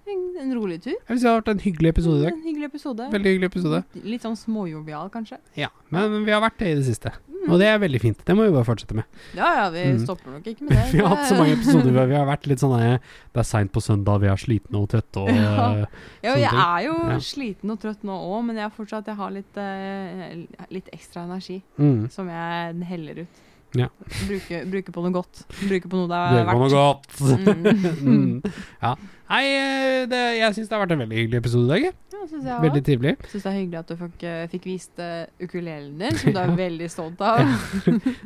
en, en rolig tur. Jeg vil si det har vært en hyggelig episode i dag. En hyggelig episode. Veldig hyggelig episode. Litt, litt sånn småjovial, kanskje. Ja, men vi har vært det i det siste. Mm. Og det er veldig fint. Det må vi bare fortsette med. Ja ja, vi Mm. stopper nok ikke med det. (laughs) Vi har hatt så Det- mange episoder hvor vi har vært litt sånn eh, Det er seint på søndag, vi er slitne og trøtte og (laughs) Ja. eh, Ja, jeg sånne er jo Ja. sliten og trøtt nå òg, men jeg har fortsatt jeg har litt, eh, litt ekstra energi mm. som jeg heller ut. Ja. Bruker, bruker på noe godt. Bruker på noe det Det er var noe verdt. godt. (laughs) Mm. Mm. Ja. Nei, eh, det, jeg syns det har vært en veldig hyggelig episode i dag. jeg. Ja, synes jeg Veldig også. trivelig. Synes det er hyggelig at du fikk, fikk vist eh, ukulelen din, som du (laughs) er Ja. veldig stolt av.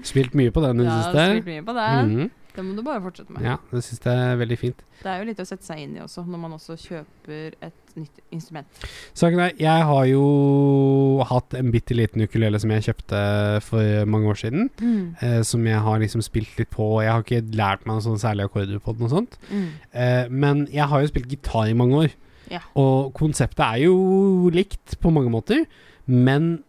Spilt mye på den i det Ja, spilt siste. mye på den. Mm. Det må du bare fortsette med. Ja, det syns jeg er veldig fint. Det er jo litt å sette seg inn i også, når man også kjøper et nytt instrument. Saken er, jeg har jo hatt en bitte liten ukulele som jeg kjøpte for mange år siden. Mm, eh, som jeg har liksom spilt litt på. Jeg har ikke lært meg noen sånne særlige akkorder på den og sånt. mm. Eh, men jeg har jo spilt gitar i mange år, Ja. og konseptet er jo likt på mange måter, men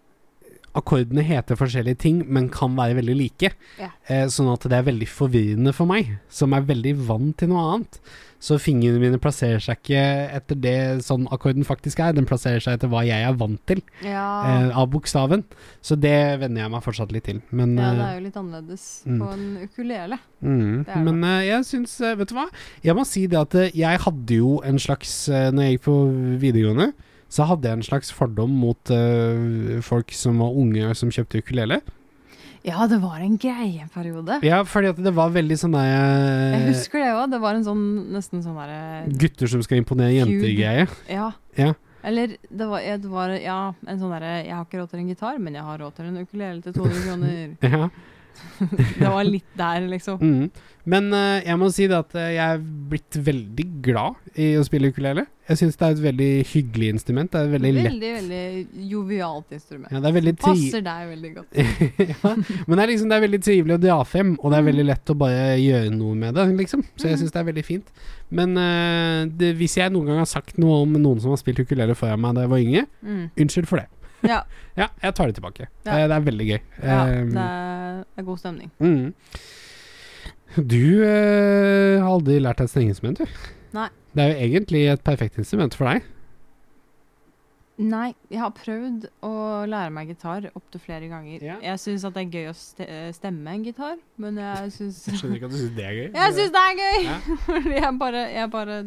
akkordene heter forskjellige ting, men kan være veldig like. Ja. Eh, sånn at det er veldig forvirrende for meg, som er veldig vant til noe annet. Så fingrene mine plasserer seg ikke etter det sånn akkorden faktisk er, den plasserer seg etter hva jeg er vant til Ja. eh, av bokstaven. Så det venner jeg meg fortsatt litt til. Men, ja, det eh, er jo litt annerledes Mm. på en ukulele. Mm. Det er Men eh, jeg syns eh, Vet du hva? Jeg må si det at eh, jeg hadde jo en slags uh, Når jeg gikk på videregående, så hadde jeg en slags fordom mot eh, folk som var unge og som kjøpte ukulele. Ja, det var en greie en periode. Ja, fordi at det var veldig sånn Jeg der husker det òg. Det var en sånn nesten sånn derre Gutter som skal imponere jenter-greie. Ja. Ja. Eller det var, ja, det var ja, en sånn derre Jeg har ikke råd til en gitar, men jeg har råd til en ukulele til 200 (laughs) kroner. (laughs) Ja. Det var litt der, liksom. Mm. Men eh, jeg må si det at eh, jeg er blitt veldig glad i å spille ukulele. Jeg syns det er et veldig hyggelig instrument. Det er veldig lett. Veldig, veldig jovialt instrument. Ja, det er veldig tri Passer deg veldig godt. (laughs) ja, men det er, liksom, det er veldig trivelig å dra frem, og det er veldig lett å bare gjøre noe med det, liksom. Så jeg syns det er veldig fint. Men eh, det, hvis jeg noen gang har sagt noe om noen som har spilt ukulele foran meg da jeg var yngre, Mm. unnskyld for det. Ja. Ja, jeg tar det tilbake. Ja. Eh, det er veldig gøy. ja, Ehm, det er- det er god stemning. mm. Du eh, har aldri lært deg et strengeinstrument, du. Nei. Det er jo egentlig et perfekt instrument for deg. Nei, jeg har prøvd å lære meg gitar opptil flere ganger. Ja. Jeg syns at det er gøy å ste- stemme en gitar, men jeg syns (laughs) skjønner ikke at du syns det er gøy. Jeg syns det er gøy! Ja. (laughs) Fordi jeg bare, jeg bare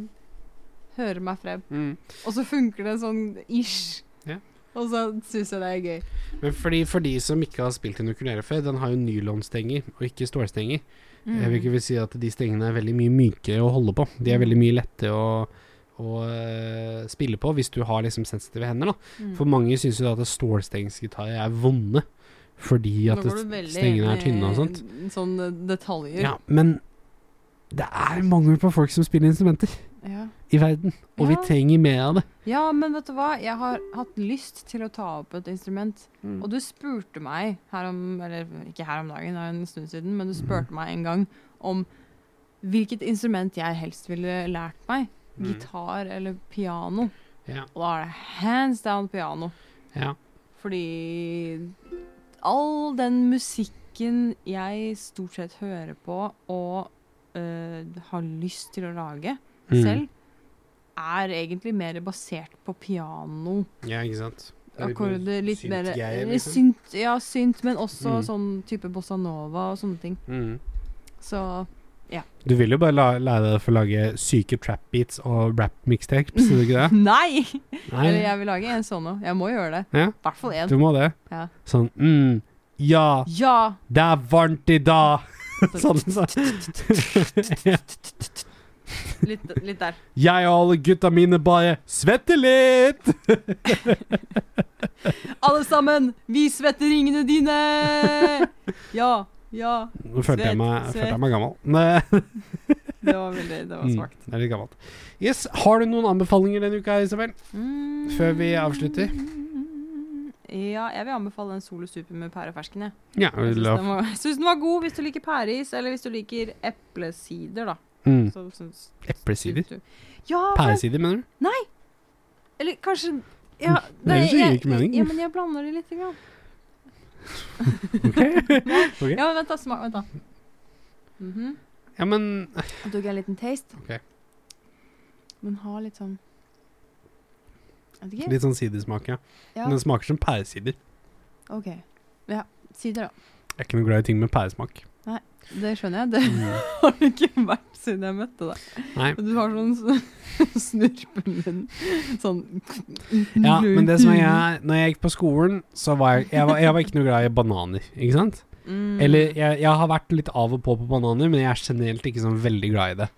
hører meg frem. mm. Og så funker det sånn ish. Ja. Og så syns jeg det er gøy. Men fordi, for de som ikke har spilt en ukulele før, den har jo nylonstenger og ikke stålstenger. Mm. Jeg vil ikke vil si at de stengene er veldig mye mykere å holde på. De er veldig mye lettere å, å eh, spille på hvis du har liksom sensitive hender. Da. Mm. For mange syns jo at stålstengsgitarer er vonde fordi at Nå går du det- veldig stengene er inn i tynne og sånt. Sånn detaljer. Ja, men det er mangel på folk som spiller instrumenter Ja. i verden, og vi Ja. trenger mer av det. Ja, men vet du hva? Jeg har hatt lyst til å ta opp et instrument. Mm. Og du spurte meg her om Eller ikke her om dagen, det er en stund siden, men du spurte meg en gang om hvilket instrument jeg helst ville lært meg. Mm. Gitar eller piano. Ja. Og da er det hands down piano. Ja. Fordi all den musikken jeg stort sett hører på og øh, har lyst til å lage Mm. selv, er egentlig mer basert på piano. Mm. Ja, ikke sant? Akkorder, litt mer eh, synt-greier, eller liksom. synt, Ja, synt, men også Mm. sånn type bossa nova og sånne ting. Mm. Så Du vil jo bare la, lære deg for å lage syke trap beats og rap mixtapes, vil du ikke det? (laughs) Nei! Nei, Eller jeg vil lage en sånn òg. Jeg må gjøre det. Ja. I hvert fall én. du må det. Ja. Sånn mm, Ja, Ja! det er varmt i (laughs) dag! (laughs) sånn. Så. Litt, litt der. Jeg og alle gutta mine bare svetter litt! Alle sammen, vi svetter ringene dine! (laughs) Ja, ja. Nå følte jeg meg, Svett, følte svett. jeg meg gammel. Nei. Det var veldig det var Mm, svakt. det er litt gammelt. Yes, Har du noen anbefalinger denne uka, Isabel? Mm. Før vi avslutter? Ja, jeg vil anbefale en Solo Super med pærefersken. Jeg, Ja, jeg syns lov. den, var- jeg syns den var god hvis du liker pæreis, eller hvis du liker eplesider, da. Mm. Så syns- Eplesider? syns du- Ja, men- Pæresider, mener du? eller kanskje ja, Det gir jeg- ikke mening. Ja, men jeg blander det litt. Grann. (laughs) (laughs) Ok. Ja, men vent, da. Smak, vent, da. Mhm. Ja, men eh, Jeg tok en liten taste. Ok. Men har litt sånn Jeg vet ikke. Litt sånn sidersmak, ja. Ja, Men Den smaker som pæresider. OK. Ja, si det, da. Jeg er ikke noe glad i ting med pæresmak. Det skjønner jeg. Mm. Det (laughs) har du ikke vært siden jeg møtte deg. Nei. Du har sånn s- (laughs) snurpemunn. Sånn Ja, men det som er greia, Når jeg gikk på skolen, så var jeg Jeg var, jeg var ikke noe glad i bananer, ikke sant? Mm. Eller jeg, jeg har vært litt av og på på bananer, men jeg er generelt ikke sånn veldig glad i det.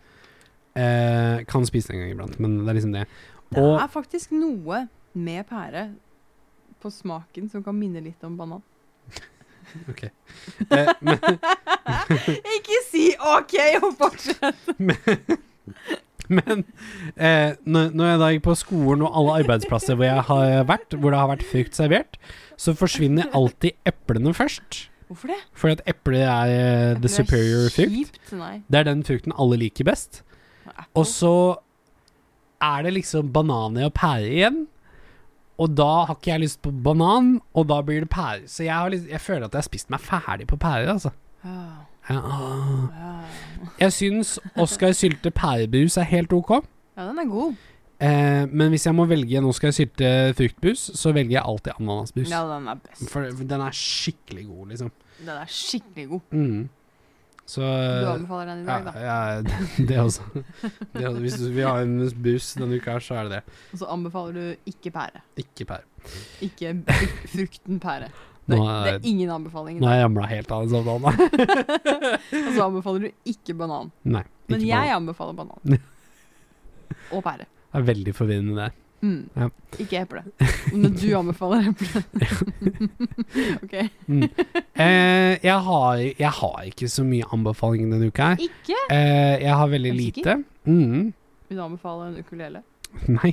Eh, kan spise det en gang iblant, men det er liksom det. Det og- er faktisk noe med pære på smaken som kan minne litt om (laughs) banan. Eh, men, (laughs) Ikke si OK og fortsett! (laughs) men eh, når, når jeg da gikk på skolen og alle arbeidsplasser hvor jeg har vært, hvor det har vært frukt servert, så forsvinner alltid eplene først. Hvorfor det? Fordi at eple er eh, the superior frukt. Kjipt, nei. Det er den frukten alle liker best. Og så er det liksom bananer og pære igjen. Og da har ikke jeg lyst på banan, og da blir det pære. Så jeg, har litt, jeg føler at jeg har spist meg ferdig på pærer, altså. Ja, Jeg, åh. ja. jeg syns Oscar Sylte pærebrus er helt ok. ja, den er god. Eh, men hvis jeg må velge en Oscar Sylte fruktbrus, så velger jeg alltid ananasbrus. Ja, den er best. For den er skikkelig god, liksom. Den er skikkelig god. Mm. Så Du anbefaler den i dag, da. Eh, Ja, (laughs) ja, det, det også. Det også. Hvis du vil ha en brus denne uka, her, så er det det. Og så anbefaler du ikke pære. Ikke pære. Ikke fru- frukten pære. Det, Nå det er, er ingen anbefaling. nå er jeg ramla helt av sånn, den samtalen. da. (laughs) Og så anbefaler du ikke banan. (laughs) Nei. Ikke Men pære. jeg anbefaler (laughs) banan. Og pære. Det er veldig forvirrende, det. Mm. Ja. Ikke eple. Men du anbefaler eple. (laughs) OK. Mm. Eh, jeg, har, jeg har ikke så mye anbefalinger denne uka. her. Ikke? Eh, jeg har veldig Er du lite. Mm. (laughs) Vil du anbefale en ukulele? Nei.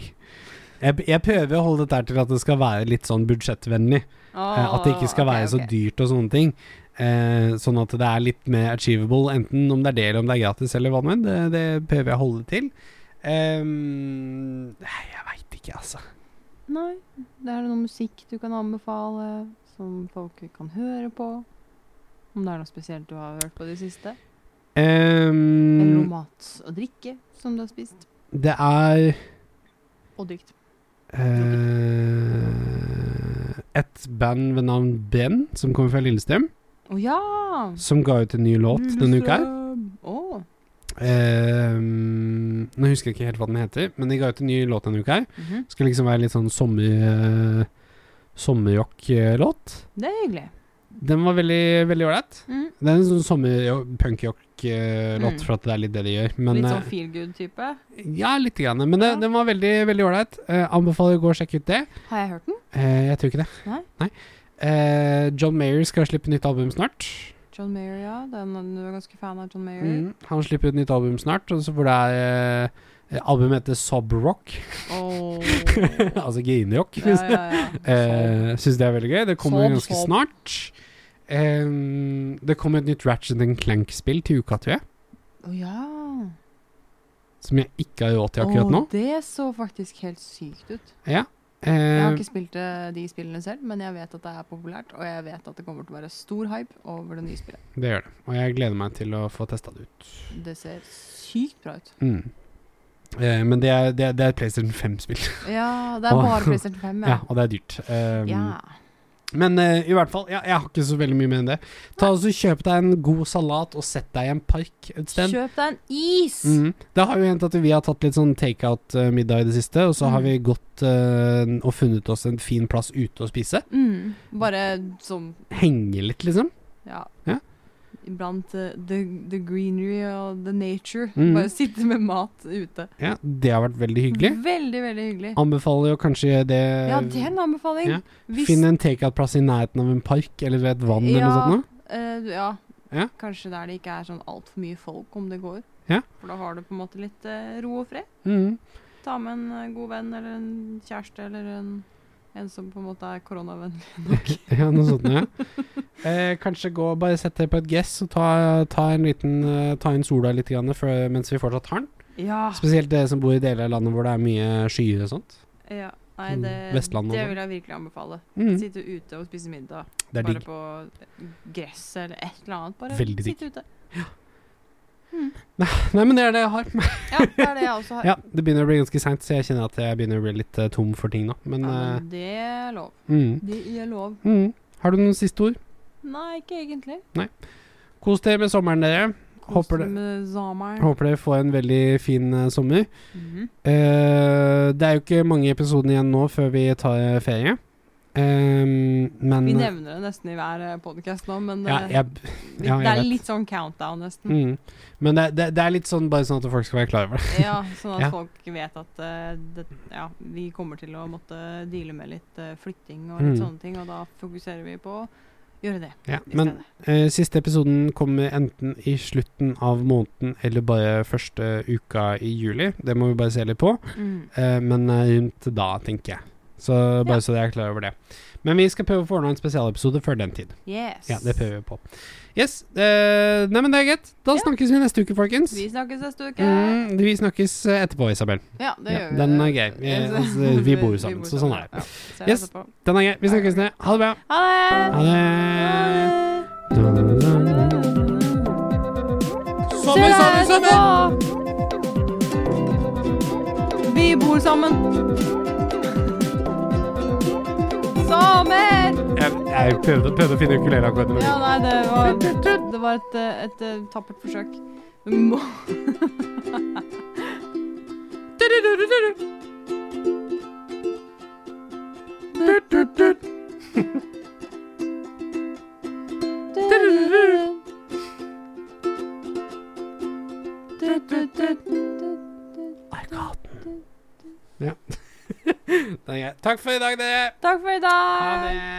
Jeg, jeg prøver å holde dette her til at det skal være litt sånn budsjettvennlig. Eh, At Ah, det ikke skal være så dyrt og sånne ting. Eh, sånn at det er litt mer achievable, enten om det er det eller om det er gratis eller hva det er. Det- Det prøver jeg å holde det til. Ehm, nei, jeg veit ikke, altså. Nei. Det er noe musikk du kan anbefale, som folk kan høre på. Om det er noe spesielt du har hørt på i det siste. Eller noe Ehm, mat og drikke som du har spist. det er Og drikt. eh, et band ved navn Ben, som kommer fra Lillestrøm, Å ja! som ga ut en ny låt denne uka her. Mm, Å. Ehm, nå husker jeg ikke helt hva den heter, men de ga ut en ny låt denne uka her. mhm. Skal liksom være litt sånn sommer... Sommerrock-låt. Det er hyggelig. Den var veldig veldig ålreit. Mm. Det er en sånn sommer-punk-rock-låt, Mm. for at det er litt det de gjør. Men, Litt sånn feel good-type. eh, ja, litt grann. Men det, Ja. den var veldig veldig ålreit. Eh, anbefaler å gå og sjekke ut det. Har jeg hørt den? Eh, jeg tror ikke det. Nei. Eh, John Mayer skal slippe nytt album snart. John Mayer, ja. Den, du er ganske fan av John Mayer. Mm. Han slipper ut nytt album snart, og så hvor det er eh, Albumet heter Sob Rock, (laughs) Åh. altså grinrock. Ja, ja, ja. (laughs) Så- Eh, Syns det er veldig gøy. Det kommer Sob, ganske sob. snart. Ehm, det kommer et nytt Ratchet Clank-spill til uka, tror jeg. Å ja. Som jeg ikke har råd til akkurat Åh, nå. Det så faktisk helt sykt ut. Ja. Jeg har Eh, ikke spilt eh, de spillene selv, men jeg vet at det er populært, og jeg vet at det kommer til å være stor hype over det nye spillet. det gjør det. Og jeg gleder meg til å få testa det ut. Det ser sykt bra ut. Mm. Eh, men det er, det, er, det er et PlayStation 5-spill, Ja, det er Åh. bare PlayStation 5, (laughs) ja, ja. og det er dyrt. Um, ja. Men eh, i hvert fall, ja, jeg har ikke så veldig mye mer enn det. Ta også, Kjøp deg en god salat og sett deg i en park et sted. Kjøp deg en is! Mm. Det har jo hendt at vi har tatt litt sånn takeout-middag i det siste, og så har Mm. vi gått eh, og funnet oss en fin plass ute å spise. Mm. Bare sånn, Henge litt, liksom. ja. Ja. Iblant eh, the, the greenery og the nature. Mm. Bare sitte med mat ute. Ja, det har vært veldig hyggelig. Veldig, veldig hyggelig. Anbefaler jo kanskje det Mm. Ja, det er en anbefaling. Ja. Hvis- Finn en takeout-plass i nærheten av en park, eller ved et vann eller noe Ja. sånt. nå. Eh, du- ja. Ja. Kanskje der det ikke er sånn altfor mye folk, om det går. Ja. For da har du på en måte litt eh, ro og fred. Mm. Ta med en eh, god venn eller en kjæreste eller en, en som på en måte er koronavennlig. (laughs) (laughs) Ja, noe sånt, ja. Eh, kanskje gå bare sett deg på et gress og ta, ta en liten eh, Ta inn sola litt grann før, mens vi fortsatt har den. Ja. Spesielt dere som bor i deler av landet hvor det er mye skyer og sånt. ja. Nei, Mm, det, Vestlandet det og vil jeg virkelig anbefale. Mm, Sitte ute og spise middag. det er Bare digg. på eh, gresset eller et eller annet. Bare Veldig digg. sitte ute. Nei, men det er det jeg har. Ja, det er det jeg også har. Ja, det begynner å bli ganske seint, så jeg kjenner at jeg begynner å bli litt eh, tom for ting nå. Men, men det er lov. eh, mm, Det er lov. mm. Har du noen siste ord? Nei, ikke egentlig. Kos dere med sommeren, dere. Kos Håper deg det- med sommeren. Håper dere får en veldig fin eh, sommer. Mhm. Eh, det er jo ikke mange episodene igjen nå før vi tar eh, ferie. Eh, men Vi nevner det nesten i hver podkast nå, men ja, eh, jeg, Vi- Ja, jeg det er vet. litt sånn countdown, nesten. Mm. Men det, det, det er litt sånn bare sånn at folk skal være klar over det. (laughs) Ja, sånn at Ja. folk vet at eh, det, ja, vi kommer til å måtte deale med litt eh, flytting og litt Mm. sånne ting, og da fokuserer vi på å gjøre det. Ja, i men stedet. eh, siste episoden kommer enten i slutten av måneden eller bare første uka i juli. Det må vi bare se litt på. Mm. Eh, men eh, rundt da, tenker jeg. Så bare så dere er klar over det. Men vi skal prøve å få ordna en spesialepisode før den tid. Yes. Ja, det prøver vi på. Yes. Eh, nei, men det er greit. Da Ja. snakkes vi neste uke, folkens. Vi snakkes neste uke. Mm, vi snakkes eh, etterpå, Isabel. Ja, det Ja, gjør vi. den er grei. Vi- (laughs) altså, vi bor jo sammen, så sånn er det. Ja, så Yes. etterpå. Den er grei. Vi snakkes ned. Ha det bra. Ha det! Ha det. Dum, dum, dum. Se deg etterpå! Vi bor sammen. Sommer! Jeg, jeg prøvde, prøvde å finne ukulele akkurat nå. Ja, nei, det var, det var et, eh, et eh, tappert forsøk. Du må Den er grei. Takk for i dag, dere. (laughs) Takk for i dag! Ha det.